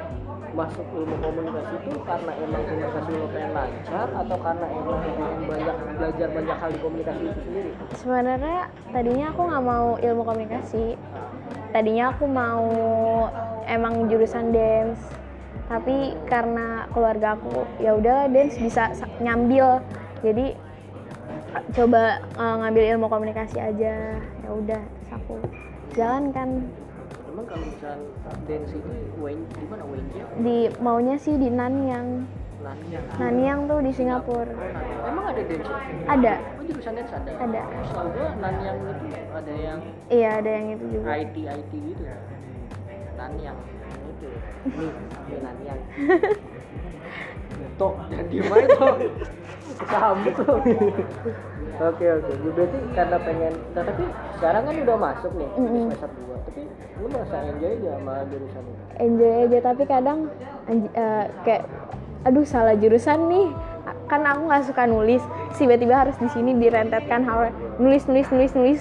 masuk ilmu komunikasi itu karena emang komunikasi lo pengen lancar atau karena emang lo pengen banyak belajar banyak hal di komunikasi itu sendiri? sebenarnya tadinya aku nggak mau ilmu komunikasi tadinya aku mau emang jurusan dance tapi karena keluarga aku ya udah dance bisa sa- nyambil jadi coba eh, ngambil ilmu komunikasi aja ya udah terus aku jalankan Emang kalau misalnya dance itu Wayne di mana Wayne dia? di maunya sih di Nanyang Nanyang. Nanyang tuh di Singapura Emang ada dance? ada Oh jurusan dance ada. ada Setahu gua Nanyang itu ada yang iya ada yang itu juga IT IT gitu. Nanyang itu. Nih, ini Nanyang. Tok, jangan diem aja Tok. Kamu tuh. Oke oke, Jadi berarti karena pengen, nah, tapi sekarang kan udah masuk nih di Mm-mm. semester 2 Tapi lu merasa enjoy gak sama jurusan ini? enjoy aja tapi kadang anj- eh, kayak aduh salah jurusan nih kan aku nggak suka nulis tiba-tiba harus di sini direntetkan hal nulis nulis nulis nulis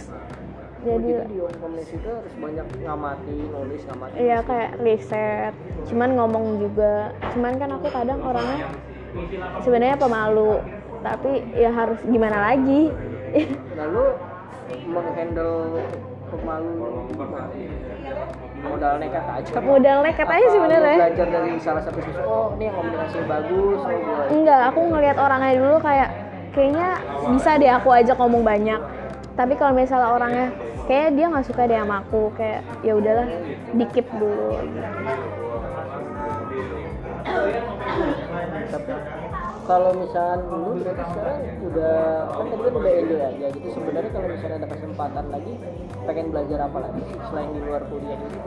Jadi jadi di komunikasi itu harus banyak ngamati, nulis, ngamati iya kayak riset cuman ngomong juga cuman kan aku kadang orangnya sebenarnya pemalu tapi ya harus gimana lagi lalu menghandle pemalu modal nekat aja Modal nekat aja sih Apa bener lu ya. belajar dari salah satu siswa oh ini yang komunikasinya bagus oh gua Enggak, aku ngelihat orangnya dulu kayak kayaknya bisa deh aku ajak ngomong banyak. Tapi kalau misalnya orangnya kayaknya dia nggak suka deh sama aku, kayak ya udahlah dikip dulu. tapi kalau misalkan lu berarti sekarang udah kan tadi kan udah enjoy aja gitu sebenarnya kalau misalnya ada kesempatan lagi pengen belajar apa lagi sih selain di luar kuliah ini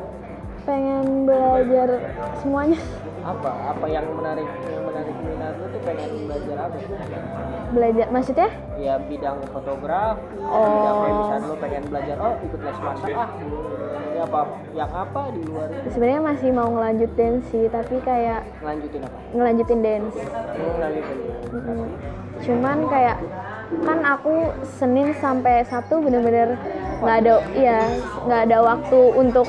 Pengen belajar semuanya, apa apa yang menarik yang menarik minat lu tuh pengen belajar apa belajar maksudnya? ya bidang fotografi Oh. bidang kayak misalnya lu pengen belajar oh ikut les masak ah ya apa yang apa di luar itu Sebenarnya masih mau ngelanjutin sih, tapi kayak lanjutin apa ngelanjutin dance. lu lanjutin Mm. Cuman kayak kan aku Senin sampai Sabtu bener-bener nggak ada iya nggak ada waktu untuk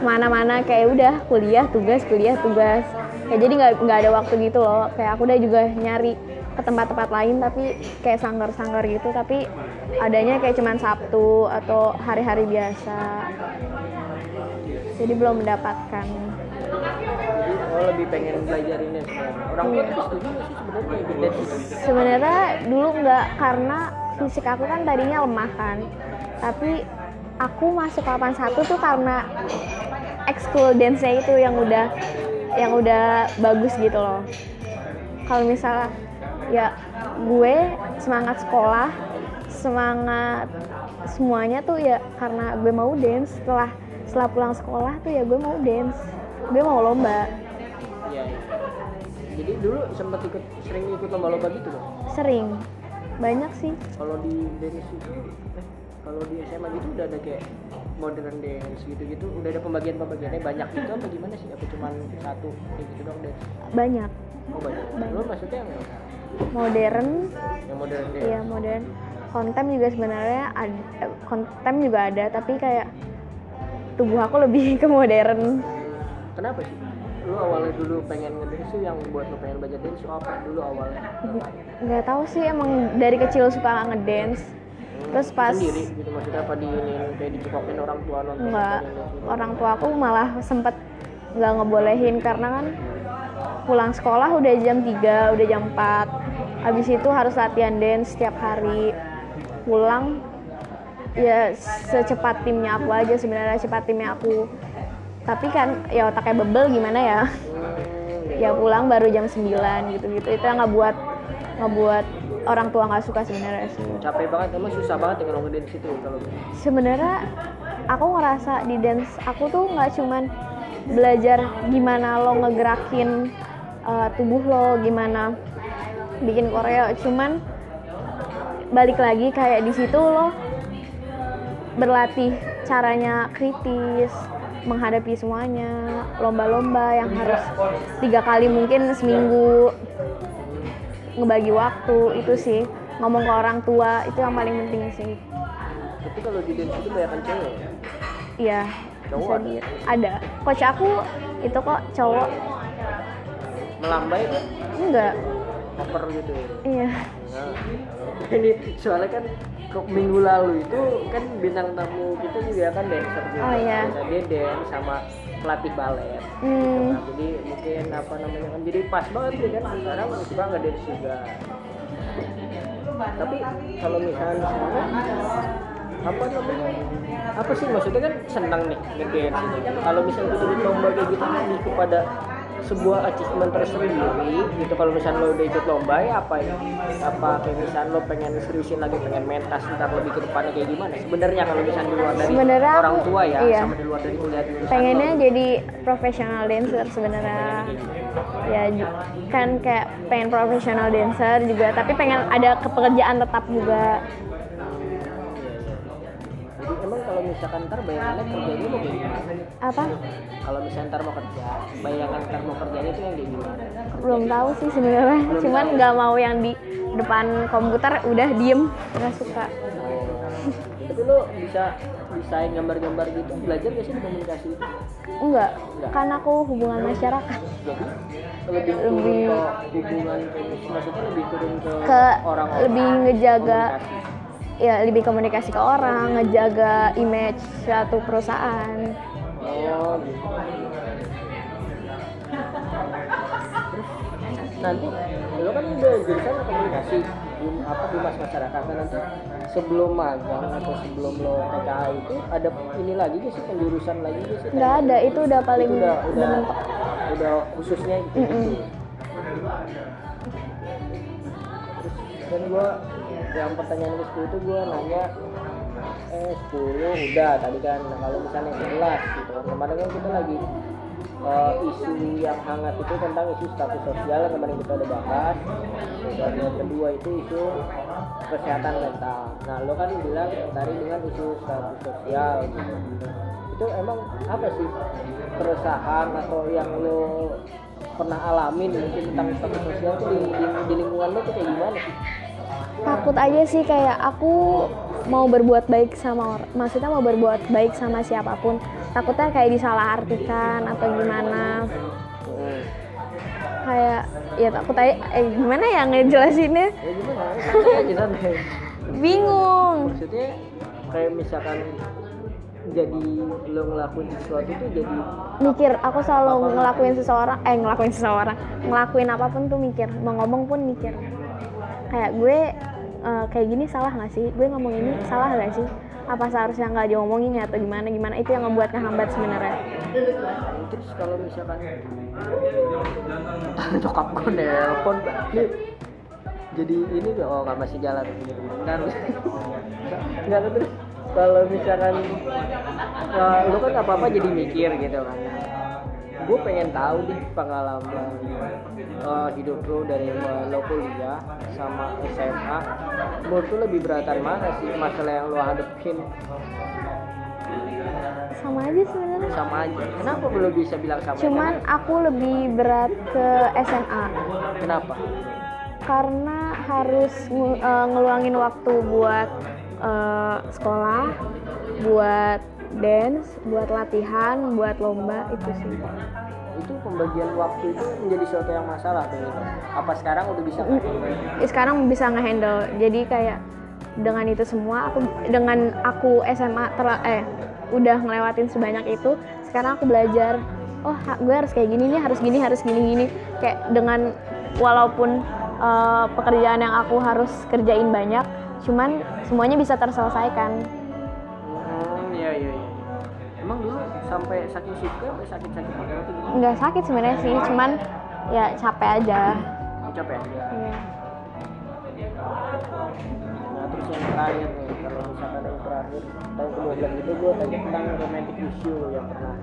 mana-mana kayak udah kuliah tugas kuliah tugas kayak jadi nggak nggak ada waktu gitu loh kayak aku udah juga nyari ke tempat-tempat lain tapi kayak sanggar-sanggar gitu tapi adanya kayak cuman Sabtu atau hari-hari biasa jadi belum mendapatkan oh lebih pengen belajar ini sebenarnya orang tua tuh setuju nggak sih sebenarnya gitu?" ikut les itu? sebenarnya dulu nggak karena fisik aku kan tadinya lemah kan tapi aku masuk 81 tuh karena ekskul dance nya itu yang udah yang udah bagus gitu loh kalau misalnya ya gue semangat sekolah semangat semuanya tuh ya karena gue mau dance setelah setelah pulang sekolah tuh ya gue mau dance gue mau lomba Iya. iya. Jadi dulu sempat ikut sering ikut lomba-lomba gitu loh. sering banyak sih Kalau di dance itu eh, kalau di SMA gitu udah ada kayak modern dance gitu-gitu, udah ada pembagian-pembagiannya banyak gitu apa gimana sih? Apa cuman satu kayak gitu dong dance? banyak Oh banyak. Lu maksudnya yang mana? modern yang modern dance? Iya modern. Kontem juga sebenarnya ad- eh, kontem juga ada tapi kayak tubuh aku lebih ke modern. Kenapa sih? Lu awalnya dulu pengen ngedance tuh yang buat lu pengen belajar dance tuh apa dulu awalnya? Nggak tahu sih emang dari kecil suka ngedance. Terus pas sendiri gitu maksudnya apa di kayak dicekokin orang tua nonton nggak nonton dance gitu? orang tua aku malah sempet nggak ngebolehin karena kan pulang sekolah udah jam 3, udah jam 4 habis itu harus latihan dance setiap hari pulang ya secepat timnya aku aja sebenarnya cepat timnya aku tapi kan ya otaknya bebel gimana ya Hmm, ya pulang baru jam 9 gitu-gitu itu yang ngebuat ngebuat orang tua nggak suka sebenarnya sih capek banget emang susah banget ya kalau ngedance itu kalau sebenarnya aku ngerasa di dance aku tuh nggak cuman belajar gimana lo ngegerakin uh, tubuh lo gimana bikin koreo cuman balik lagi kayak di situ lo berlatih caranya kritis menghadapi semuanya lomba-lomba yang harus tiga kali mungkin seminggu ngebagi waktu itu sih ngomong ke orang tua itu yang paling penting sih tapi kalau di dance itu banyak cewek ya? Iya, bisa Cowok ada? di ada. Coach aku itu kok cowok melambai kan enggak. over gitu ya Iya. Nah, ini soalnya kan ke- minggu lalu itu kan bintang tamu kita juga kan dancer juga Oh, iya. Nah, dia dance sama pelatih balet Hmm, Nah, jadi mungkin apa namanya kan jadi pas banget ya kan sekarang suka nggak dance juga tapi kalau misalnya sekarang apa namanya apa sih maksudnya kan senang nih ngedance gitu. kalau misalnya kita ikut lomba kayak gitu lebih kepada sebuah achievement tersendiri gitu kalau misalnya lo udah ikut lomba ya apa ya apa kayak misalnya lo pengen seriusin lagi pengen mentas ntar lebih ke depannya kayak gimana sebenarnya kalau misalnya di luar dari Sebenarnya aku- orang tua ya iya. sama di luar dari kuliah jurusan lo. pengennya jadi profesional dancer sebenarnya. Ya ju- kan kayak pengen profesional dancer juga, tapi pengen ada kepekerjaan tetap juga. Jadi emang kalau misalkan ntar bayangannya kerjanya mau kayak gimana? Apa? Kalau misalkan ntar mau kerja, bayangan ntar mau kerjanya itu yang kayak gimana? Belum tahu sih sebenarnya. Cuman nggak mau yang di depan komputer udah diem nggak suka gitu. Oh. Tapi lo bisa desain gambar-gambar gitu, belajar gak sih di komunikasi itu? enggak kan aku hubungan masyarakat Jadi lebih turun Lebih- ke hubungan, maksudnya lebih turun ke, ke orang-orang lebih ngejaga komunikasi. ya lebih komunikasi ke orang ngejaga image suatu perusahaan Oh, gitu. Terus nanti lo kan udah jurusan komunikasi di apa di mas masyarakat Nah, nanti sebelum magang atau sebelum lo PKA itu ada ini lagi gak sih penjurusan lagi gak sih nggak ada itu udah paling itu udah udah, mentok udah khususnya itu Mm-mm. Terus, dan gua yang pertanyaan ke 10 itu gua nanya eh 10 udah tadi kan nah, kalau misalnya 11 gitu kan kemarin kan kita lagi eh, isu yang hangat itu tentang isu status sosial yang kemarin kita udah bahas dan yang kedua itu isu kesehatan mental nah lo kan bilang tertarik dengan isu status sosial gitu itu emang apa sih keresahan atau yang lo pernah alamin mungkin tentang status sosial tuh di, di- di lingkungan lo tuh kayak gimana sih? takut aja sih kayak aku mau berbuat baik sama orang maksudnya mau berbuat baik sama siapapun takutnya kayak disalahartikan atau gimana kayak ya takut aja eh, gimana ya ngejelasinnya Ya gimana? Santai aja santai. bingung Maksudnya kayak misalkan jadi lo ngelakuin sesuatu tuh jadi mikir aku selalu ngelakuin seseorang eh ngelakuin seseorang ngelakuin apapun tuh mikir mau ngomong pun mikir kayak gue eh, kayak gini salah nggak sih gue ngomong ini salah nggak sih apa seharusnya nggak diomongin ya atau gimana gimana itu yang membuat ngehambat sebenarnya terus kalau misalkan nyokap gue nelpon nih jadi ini gak oh nggak masih jalan bentar nggak tuh, terus kalau misalkan eh, lu kan apa apa jadi mikir gitu kan gue pengen tahu nih pengalaman eh, hidup lu dari eh, lo kuliah sama SMA menurut lu lebih beratan mana sih masalah yang lo hadepin sama aja sebenarnya sama aja kenapa lo bisa bilang sama aja? cuman aku lebih berat ke SMA kenapa karena harus ngu- eh, ngeluangin waktu buat eh, sekolah, buat dance, buat latihan, buat lomba itu sih. itu pembagian waktu itu menjadi suatu yang masalah tuh gitu. apa sekarang udah bisa nggak? Eh, Sekarang bisa ngehandle. Jadi kayak dengan itu semua aku dengan aku SMA terla- eh udah ngelewatin sebanyak itu, sekarang aku belajar oh ha- gue harus kayak gini nih, harus gini, harus gini gini. Kayak dengan walaupun eh, pekerjaan yang aku harus kerjain banyak, cuman semuanya bisa terselesaikan. hmm iya iya iya emang dulu sampai sakit sipil sampai sakit sakit apa tuh gimana? nggak sakit sebenarnya sih cuman ya capek aja capek ya? Iya. nah terus yang terakhir nih kalau misalkan yang terakhir tahun ke itu gue tanya tentang romantic issue yang pernah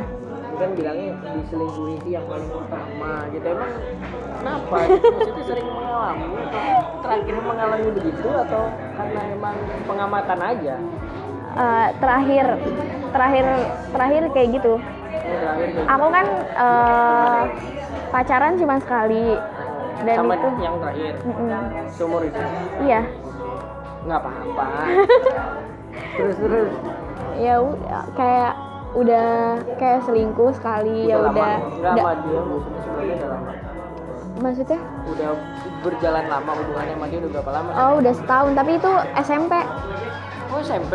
Ya, lu kan bilangnya diselingkuhi sih yang paling utama gitu emang kenapa maksudnya sering mengalami atau terakhir mengalami begitu atau karena emang pengamatan aja Eh, terakhir terakhir terakhir kayak gitu Yang terakhir kayak aku kan eh, pacaran cuma sekali dan sama itu yang terakhir Mm-mm. seumur itu iya nggak apa-apa terus terus ya u- kayak udah kayak selingkuh sekali ya udah lama nggak Nggak- sama dia maksudnya sebelumnya udah lama maksudnya udah berjalan lama hubungannya sama dia udah berapa lama oh udah setahun tapi itu SMP oh SMP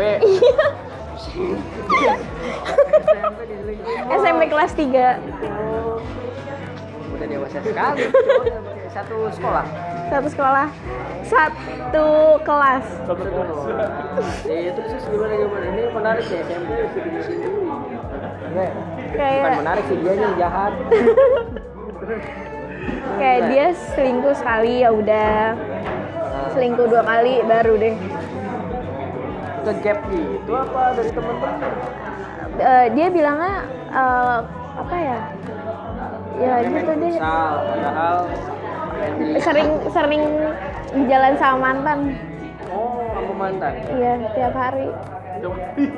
SMP diselingkuhin. SMP kelas 3 Oh. udah dewasa sekali satu sekolah satu sekolah satu kelas satu sekolah ya terus terus gimana gimana ini menarik ya SMP itu bukan kayak menarik sih dia yang jahat kayak dia selingkuh sekali ya udah selingkuh dua kali baru deh ke gap gitu apa dari temen-temen Eh, dia bilangnya eh, apa ya ya gitu main deh futsal, padahal sering sering jalan sama mantan oh aku mantan iya tiap hari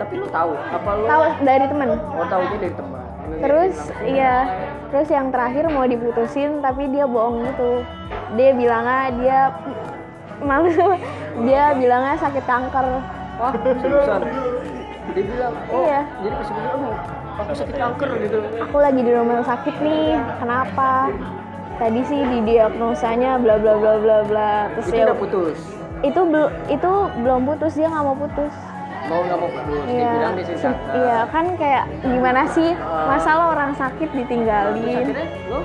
tapi lu tahu apa lu tahu dari temen oh tahunya dari teman terus iya terus yang terakhir mau diputusin tapi dia bohong gitu dia bilangnya dia malu dia bilangnya sakit kanker wah seriusan dia bilang oh Iya. jadi pas gue bilang, "Aduh, aku sakit kanker gitu aku lagi di rumah sakit nih kenapa tadi sih di diagnosanya bla bla bla bla bla terus itu ya udah putus itu bel- itu belum putus dia nggak mau putus mau nggak mau putus dia Iya. bilang dia Se- sengsara iya kan kayak gimana sih masalah orang sakit terus ditinggalin akhirnya lo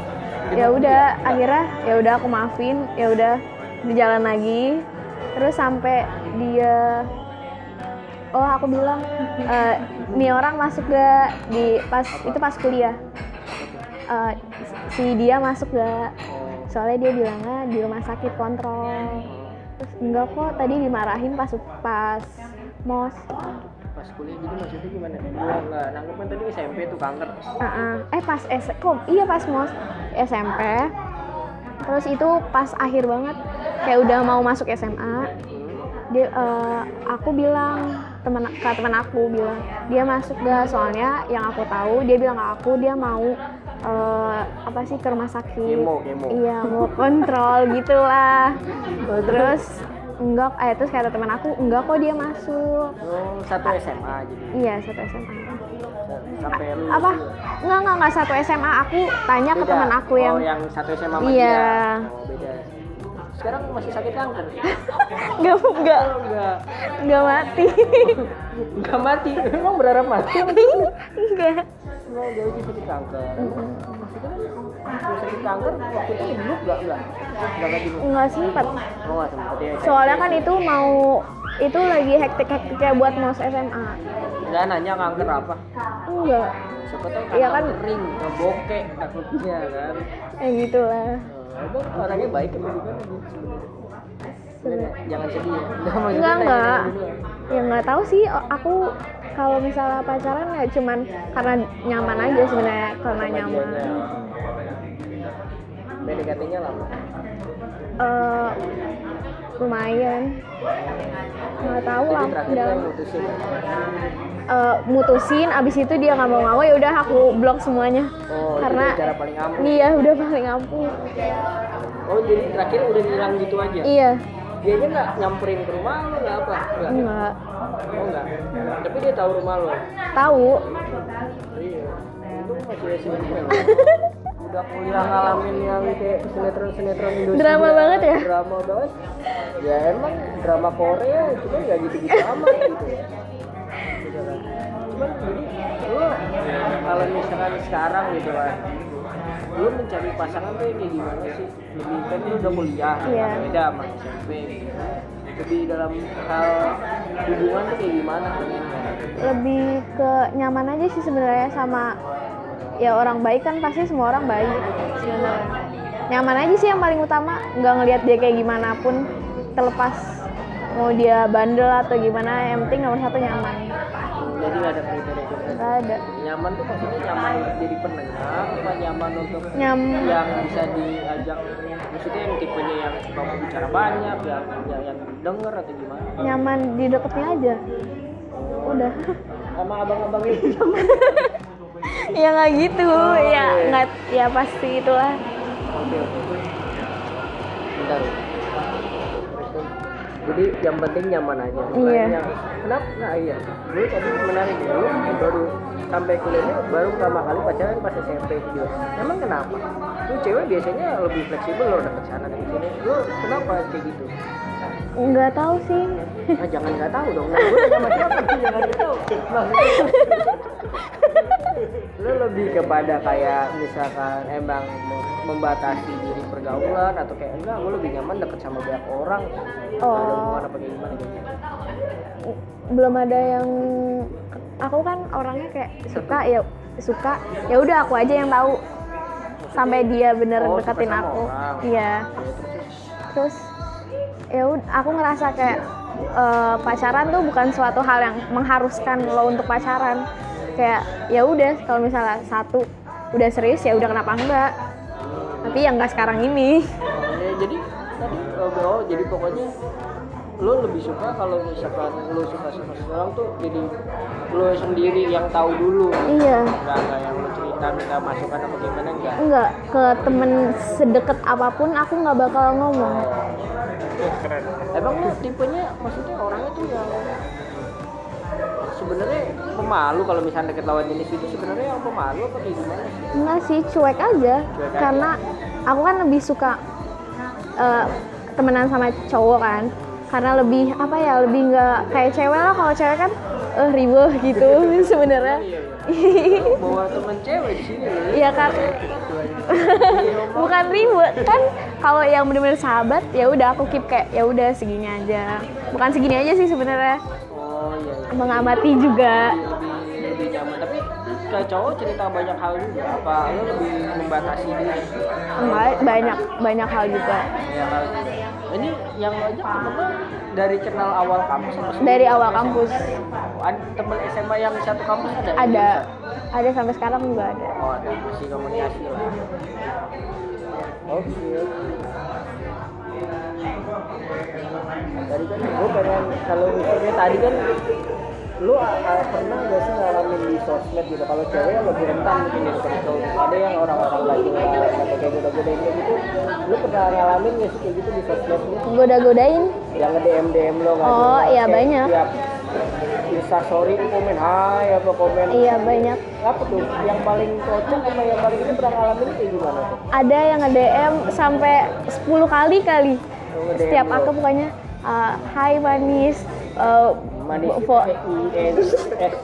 ya udah Iya. akhirnya ya udah aku maafin ya udah berjalan lagi terus sampai dia oh aku bilang eh, nih orang masuk gak di pas itu pas kuliah Eh, si dia masuk gak soalnya dia bilangnya di rumah sakit kontrol terus enggak kok tadi dimarahin pas pas mos pas kuliah jadi maksudnya gimana gua nggak nangkep kan tadi SMP tuh kanker Ah, ah. eh pas S kok iya pas mos SMP terus itu pas akhir banget kayak udah mau masuk SMA Hmm. dia eh, aku bilang temen ke teman aku bilang dia masuk gak soalnya yang aku tahu dia bilang ke aku dia mau eh, apa sih ke rumah sakit Kemo, kemo. iya mau kontrol gitulah terus enggak eh terus kata teman aku enggak kok dia masuk oh satu SMA jadi iya satu SMA sampai lu gitu. apa nggak nggak nggak satu SMA aku tanya ke Beda. teman aku yang, oh, yang satu SMA sama Iya. dia. oh beda sekarang masih sakit kanker nggak nggak Oh, nggak nggak mati nggak mati emang berharap mati nggak nggak jauh di sakit kanker maksudnya kan lu sakit kanker waktu itu dulu nggak nggak nggak lagi dulu nggak sempet oh nggak sempet ya soalnya kan itu mau itu lagi hektik hektiknya buat mos SMA nggak nanya kanker apa enggak siapa tahu Iya kan? kan kering ngeboke takutnya kan ya gitulah Eh, emang orangnya baik emang gimana gitu sebenarnya? Bener, jangan sedih ya nggak enggak tanya enggak dulu ya. ya nggak tahu sih o- aku kalau misalnya pacaran ya cuman karena nyaman aja sebenarnya karena nyaman PDKT-nya lama. Eh, lumayan nggak tahu Jadi lah terakhir udah kan mutusin. eh, mutusin abis itu dia nggak mau ngaku ya udah aku blok semuanya Oh, itu karena udah cara paling ampuh. iya udah paling ampuh Oh, jadi terakhir udah hilang gitu aja. iya Dia aja nggak nyamperin ke rumah lo nggak apa? Nggak. nggak Oh nggak. Tapi dia tahu rumah lo. tahu Iya. Itu masih SMP lo. Udah kuliah ngalamin yang kayak sinetron-sinetron Indonesia. Drama banget ya? Drama banget. Ya emang drama Korea cuma nggak gitu-gitu amat gitu. ya. Gitu kan. Cuman jadi lo kalau misalkan sekarang gitu kan lo mencari pasangan tuh yang kayak gimana sih? Lebih kan lo udah kuliah, Iya. beda sama SMP gitu. Lebih dalam hal hubungan tuh kayak gimana? lebih ke nyaman aja sih sebenarnya sama ya orang baik kan pasti semua orang baik sebenarnya nyaman aja sih yang paling utama nggak ngelihat dia kayak gimana pun terlepas mau dia bandel atau gimana yang penting nomor satu nyaman Jadi nggak ada kriteria-kriteria. nggak ada nyaman tuh maksudnya nyaman untuk jadi pendengar apa nyaman untuk nyam yang bisa diajak maksudnya yang tipenya yang suka bicara banyak yang yang, yang denger atau gimana nyaman di deketnya aja udah sama abang-abang itu ya nggak gitu ya nggak ya pasti itulah oke oke bentar jadi yang penting nyaman aja Iya. Yang- kenapa nah iya dulu tadi menarik ya. dulu baru sampai kuliahnya baru pertama kali pacaran pas SMP gitu emang kenapa lu cewek biasanya lebih fleksibel loh deket sana deket sini lu kenapa kayak gitu nggak tahu sih Nah, jangan nggak tahu dong. Nah, gue tanya sama siapa sih jangan nggak tahu. Maksudnya, lu lebih kepada kayak misalkan emang membatasi diri pergaulan atau kayak enggak gue lebih nyaman deket sama banyak orang Oh. ada hubungan apa kayak gimana gitu belum ada yang aku kan orangnya kayak suka ya suka ya udah aku aja yang tahu sampai dia bener Oh, suka deketin sama aku orang. iya Ya, terus- terus ya ud- aku ngerasa kayak eh, pacaran tuh bukan suatu hal yang mengharuskan lo untuk pacaran kayak ya udah kalau misalnya satu udah serius ya udah kenapa enggak tapi ya enggak sekarang ini Ya, jadi tadi oh, oh, jadi pokoknya lu lebih suka kalau misalkan lu suka sama seseorang tuh jadi lu sendiri yang tahu dulu iya enggak enggak yang lu cerita minta masukan apa gimana enggak enggak ke temen sedekat apapun aku nggak bakal ngomong keren Emang lu tipenya maksudnya orangnya tuh yang sebenarnya pemalu kalau misalnya deket lawan jenis itu sebenarnya yang pemalu apa kayak gimana? sih? enggak sih cuek aja Cuek aja. karena aku kan lebih suka eh, temenan sama cowok kan karena lebih apa ya lebih nggak kayak cewek lah kalau cewek kan eh ribet gitu sebenarnya Oh, iya, bawa temen cewek di sini loh Iya, Kak. bukan ribet kan kalau yang bener-bener sahabat ya udah aku keep kayak ya udah segini aja bukan segini aja sih sebenarnya oh iya iya. mengamati juga lebih lebih nyaman tapi ke cowok cerita banyak hal juga apa lo lebih membatasi diri Enggak, banyak banyak hal juga banyak hal juga. Iya, ini yang lo ajak temen lo dari kenal awal kampus apa sebelum dari awal SMA? kampus Ad- temen SMA yang satu kampus ada ada ada sampai sekarang juga ada oh ada masih komunikasi lah oke tadi kan gue pengen kalau misalnya tadi kan lu uh, pernah gak sih ngalamin di sosmed gitu kalau cewek yang lebih rentan mungkin daripada cowok ada yang orang-orang lagi ngalamin sampai kayak goda-godain kayak gitu lu pernah ngalamin gak sih kayak gitu di sosmed lu goda-godain yang nge-DM DM lo nggak Oh, jelas. iya, Kayak banyak. tiap Insta story lu komen hai apa komen iya banyak apa tuh yang paling kocak sama yang paling ini pernah ngalamin kayak gimana tuh ada yang nge-DM sampai 10 kali kali Lu nge-DM setiap lu. aku pokoknya uh, hai manis uh, manis itu bo- fo- I N S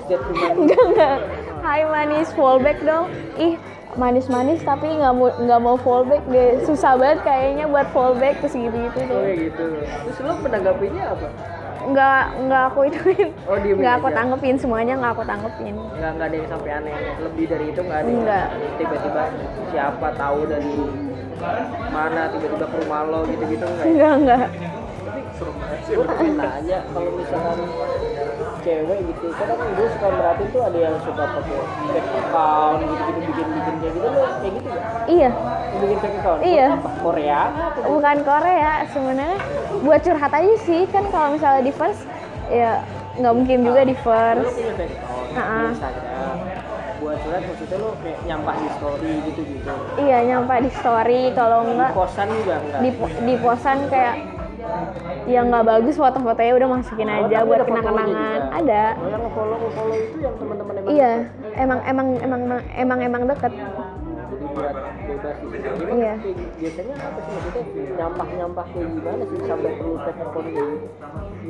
Z manis enggak enggak hai manis fallback dong ih manis-manis tapi nggak mau nggak mau fallback deh susah banget kayaknya buat fallback terus gitu-gitu oh tuh kayak gitu terus lu menanggapinya apa nggak nggak aku ituin Oh, diemin nggak aku aja. tanggepin semuanya nggak aku tanggepin nggak nggak ada yang sampai aneh lebih dari itu nggak ada yang Nggak. tiba-tiba siapa tahu dari mana tiba-tiba ke rumah lo gitu-gitu nggak ya? enggak enggak gue kan pengen nanya kalau misalkan cewek gitu kadang gue suka merhatiin tuh ada yang suka pakai fake account gitu-gitu bikin-bikin kayak gitu lo kayak gitu ya iya bikin fake account Iya. Buat apa? Korea apa? bukan Korea sebenarnya buat curhat aja sih kan kalau misalnya di first ya nggak mungkin juga di lu first punya fake account Ha-ha. di Instagram buat curhat maksudnya lo kayak nyampah di story gitu-gitu iya nyampe di story kalau di nggak kosan juga enggak di po- di posan kayak yang nggak bagus foto-fotonya udah masukin Oh, aja tapi buat ada fotonya kenang-kenangan juga. ada Oh, yang follow follow itu yang teman-teman emang iya emang emang emang emang emang, emang deket jadi buat bebas gitu. Jadi Iya. kayak- biasanya apa sih maksudnya nyampah-nyampah kayak gimana sih sampai perlu fake account kayak gitu?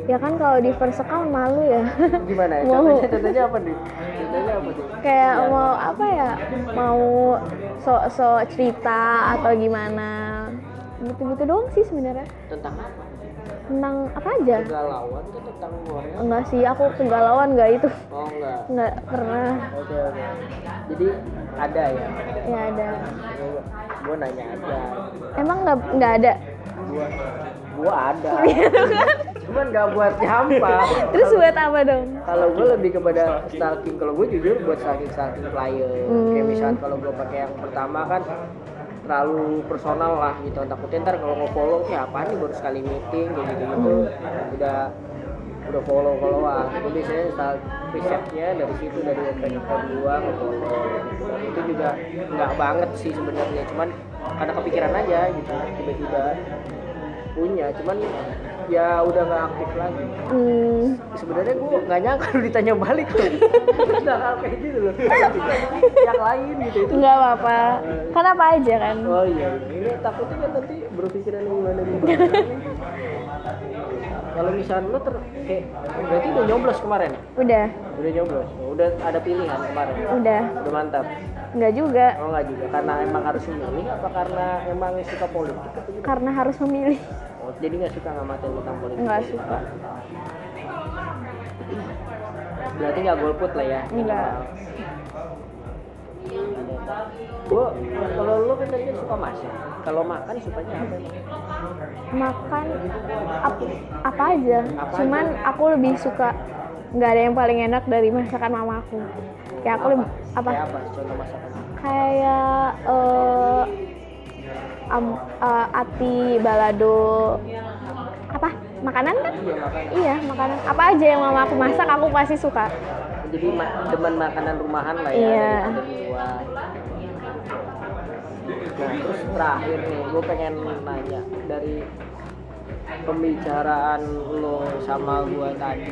ya kan kalau di first account malu ya gimana ya? Mau. Contohnya, contohnya apa nih? Contohnya apa nih? kayak mau apa ya mau sok-sok cerita atau gimana gitu-gitu doang sih sebenarnya Tentang apa? tentang apa aja Kegalauan tuh tentang keluarga? enggak sih aku kegalauan enggak itu Oh enggak. enggak pernah Oke oke. Jadi ada ya. ya ada Gue nanya ada. emang nggak nggak ada Gitu kan? Gue ada. Cuman nggak buat nyampah. terus buat apa dong Kalau gue lebih kepada stalking. Kalau gue jujur buat stalking stalking player. Kayak misalnya kalau gue pakai yang pertama kan terlalu personal lah gitu takutnya ntar kalau nggak follow ya apaan nih baru sekali meeting kayak gitu gitu udah udah follow followan gue biasanya stal- risetnya dari situ dari banyak gua nge-follow gitu. Dan itu juga nggak banget sih sebenarnya cuman karena kepikiran aja gitu tiba-tiba punya cuman ya udah nggak aktif lagi Hmm, sebenarnya gue nggak nyangka lu ditanya balik tuh nah hal kayak gitu loh yang lain gitu itu nggak apa-apa. Kan apa aja kan? oh iya ini takutnya kan nanti berpikiran yang gimana gimana kalau misalnya lo ter kayak berarti udah nyoblos kemarin ya? Udah, udah nyoblos udah ada pilihan kemarin udah. udah mantap Nggak juga oh nggak juga karena emang harus memilih apa karena emang suka politik atau gimana? karena harus memilih. oh, jadi nggak suka ngamatin tentang politik Nggak suka. berarti nggak golput lah ya Nggak. Gua kalau lu kan tadi suka masak. Kalau makan sukanya apa? Makan ap- apa aja. Apa Cuman aku lebih suka nggak ada yang paling enak dari masakan mamaku. Kayak aku lebih apa? Kayak apa contoh masakan? Kayak eh am- eh, ati balado apa? Makanan kan? Iya makan. Iya, makanan. Apa aja yang mama aku masak aku pasti suka. Jadi ma- demen makanan rumahan lah ya. Iya. daripada di luar. Nah terus terakhir nih, gue pengen nanya dari pembicaraan lo sama gua tadi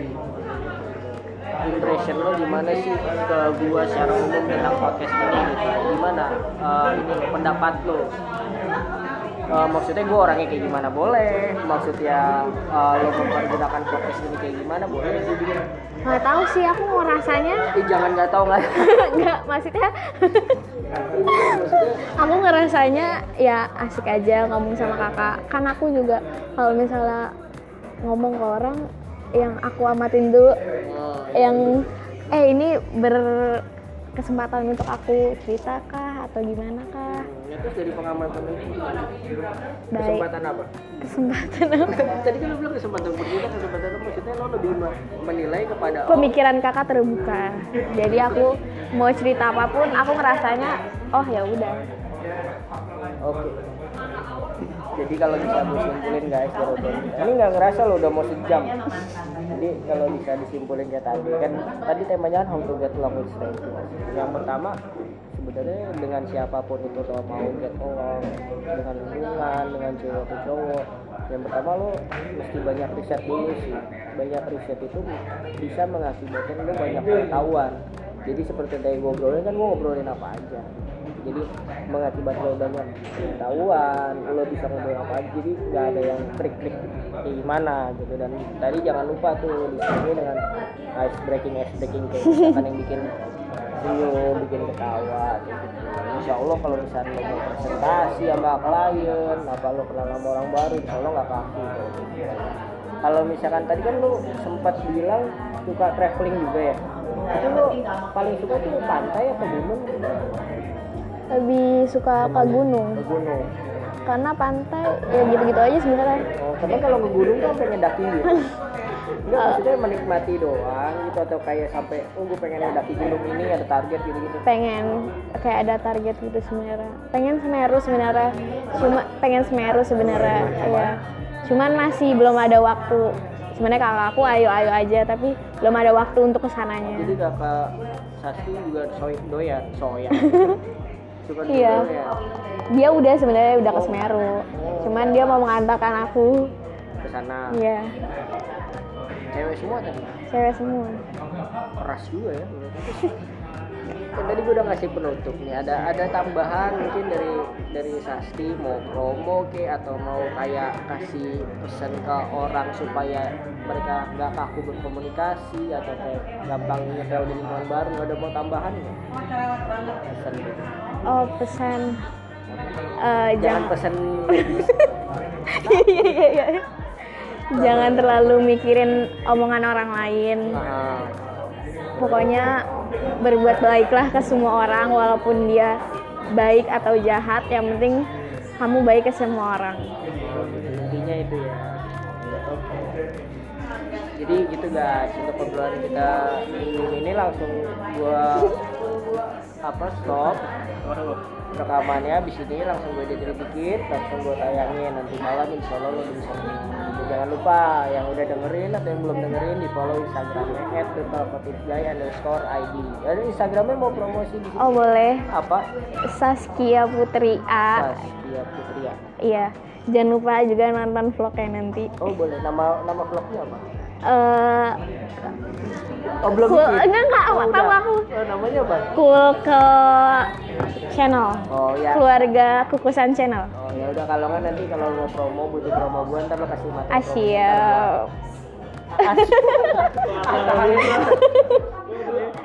impression lo gimana sih ke gua secara umum tentang podcast ini gitu. gimana eh, ini pendapat lo eh, maksudnya gue orangnya kayak gimana boleh maksudnya eh, lo mempergunakan podcast ini kayak gimana boleh gue bikin nggak tahu sih aku mau rasanya eh jangan nggak tahu nggak nggak maksudnya aku ngerasanya ya asik aja ngomong sama kakak kan aku juga kalau misalnya ngomong ke orang yang aku amatin dulu Oh, yang eh ini berkesempatan untuk aku cerita kah atau gimana kah Ya, terus dari pengamatan itu gimana? Baik. Kesempatan apa? kesempatan apa? Tadi kan lo bilang kesempatan berbeda, kesempatan itu maksudnya lo lebih me- menilai kepada oh, pemikiran kakak terbuka jadi aku mau cerita apapun aku ngerasanya oh ya udah Oke. Jadi kalau bisa gue simpulin guys, dari tadi. ini nggak ngerasa lo udah mau sejam. Jadi kalau bisa disimpulin kayak tadi kan, tadi temanya kan how to get along with strangers. Yang pertama sebenarnya dengan siapapun itu lo mau get along dengan lingkungan, dengan cewek atau cowok. Yang pertama lo mesti banyak riset dulu sih. Banyak riset itu bisa mengakibatkan lo banyak pengetahuan. Jadi seperti tadi gue ngobrolin kan gue ngobrolin apa aja jadi mengakibat lo banyak ketahuan lo bisa ngobrol apa aja jadi nggak ada yang trik-trik kayak gimana gitu dan tadi jangan lupa tuh di sini dengan ice breaking ice breaking kayak misalkan yang bikin senyum bikin ketawa kayak gitu insya Allah kalau misalnya lo mau presentasi sama klien apa lo kenal sama orang baru insya Allah nggak kaku kayak gitu. kalau misalkan tadi kan lo sempat bilang suka traveling juga ya itu lo paling suka tuh pantai atau gunung lebih suka ke gunung ke gunung. karena pantai ya gitu-gitu aja sebenarnya Oh, tapi kalau ke gunung kan pengen daki gitu. Enggak, maksudnya menikmati doang gitu atau kayak sampai oh gue pengen mendaki gunung ini ada target gitu, gitu-gitu. pengen kayak ada target gitu sebenarnya pengen semeru sebenarnya cuma pengen semeru sebenarnya ya cuman masih belum ada waktu sebenarnya kakak aku ayo ayo aja tapi belum ada waktu untuk Jadi kesananya kakak Sasti juga soy doyan, soyan. Suka Iya. doyan. dia udah sebenarnya udah ke Semeru cuman dia mau mengantarkan aku Ke sana. iya Cewek semua tadi. cewek semua Keras juga ya. Kan tadi gue udah ngasih penutup nih. Ada ada tambahan mungkin dari dari Sasti mau promo ke atau mau kayak kasih pesan ke orang supaya mereka nggak kaku berkomunikasi atau kayak gampang nyetel di lingkungan baru ada mau tambahan nggak? Pesan gitu. oh pesan eh, Jangan jangan pesan Iya, iya, iya. jangan terlalu mikirin omongan orang lain ah, pokoknya berbuat baiklah ke semua orang walaupun dia baik atau jahat yang penting kamu baik ke semua orang intinya itu ya. Jadi gitu guys untuk obrolan kita minggu ini langsung gua apa stop Waduh. rekamannya abis ini langsung gue edit dikit langsung gue tayangin nanti malam insya Allah lo udah bisa dengerin. jangan lupa yang udah dengerin atau yang belum dengerin di follow instagramnya at underscore id dan instagramnya mau promosi di sini oh boleh apa Saskia Putri A Saskia Putria iya jangan lupa juga nonton vlognya nanti oh boleh nama nama vlognya apa eh oh belum Cool. bikin. Enggak, enggak, Oh, tahu udah. aku. Oh, namanya apa cool ke channel oh ya keluarga kukusan channel oh ya udah kalau nggak nanti kalau lo mau promo butuh promo gue ntar lo kasih Ah, materi promo. Asia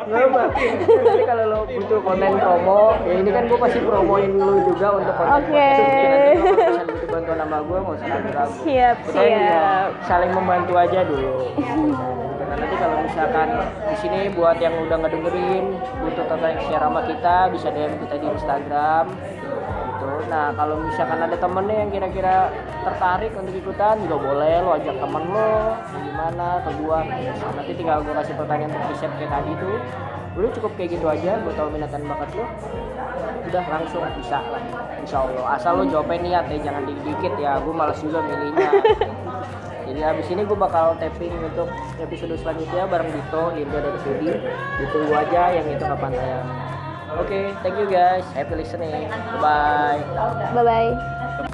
Kenapa? Jadi kalau lo butuh konten promo, ya ini kan gue pasti promoin lo juga untuk konten. Oke. podcast. Nanti lo kalau misalnya butuh bantuan sama gue, nggak usah ragu-ragu. Siap, Kita ini ya, siap. Saling membantu aja dulu. Karena nanti kalau misalkan di sini buat yang udah ngedengerin butuh tentang share sama kita bisa DM kita di Instagram gitu. Nah kalau misalkan ada temennya yang kira-kira tertarik untuk ikutan juga boleh lo ajak temen lo gimana ke gua nanti tinggal gua kasih pertanyaan untuk riset kayak tadi tuh udah cukup kayak gitu aja gua tau minat dan bakat lo udah langsung bisa lah insya Allah asal lo jawabnya niat ya jangan dikit ya gue males juga milihnya jadi habis ini gue bakal tapping untuk episode selanjutnya bareng Dito Lindo dan Sudi ditunggu aja yang itu kapan saya oke thank you guys happy listening bye bye bye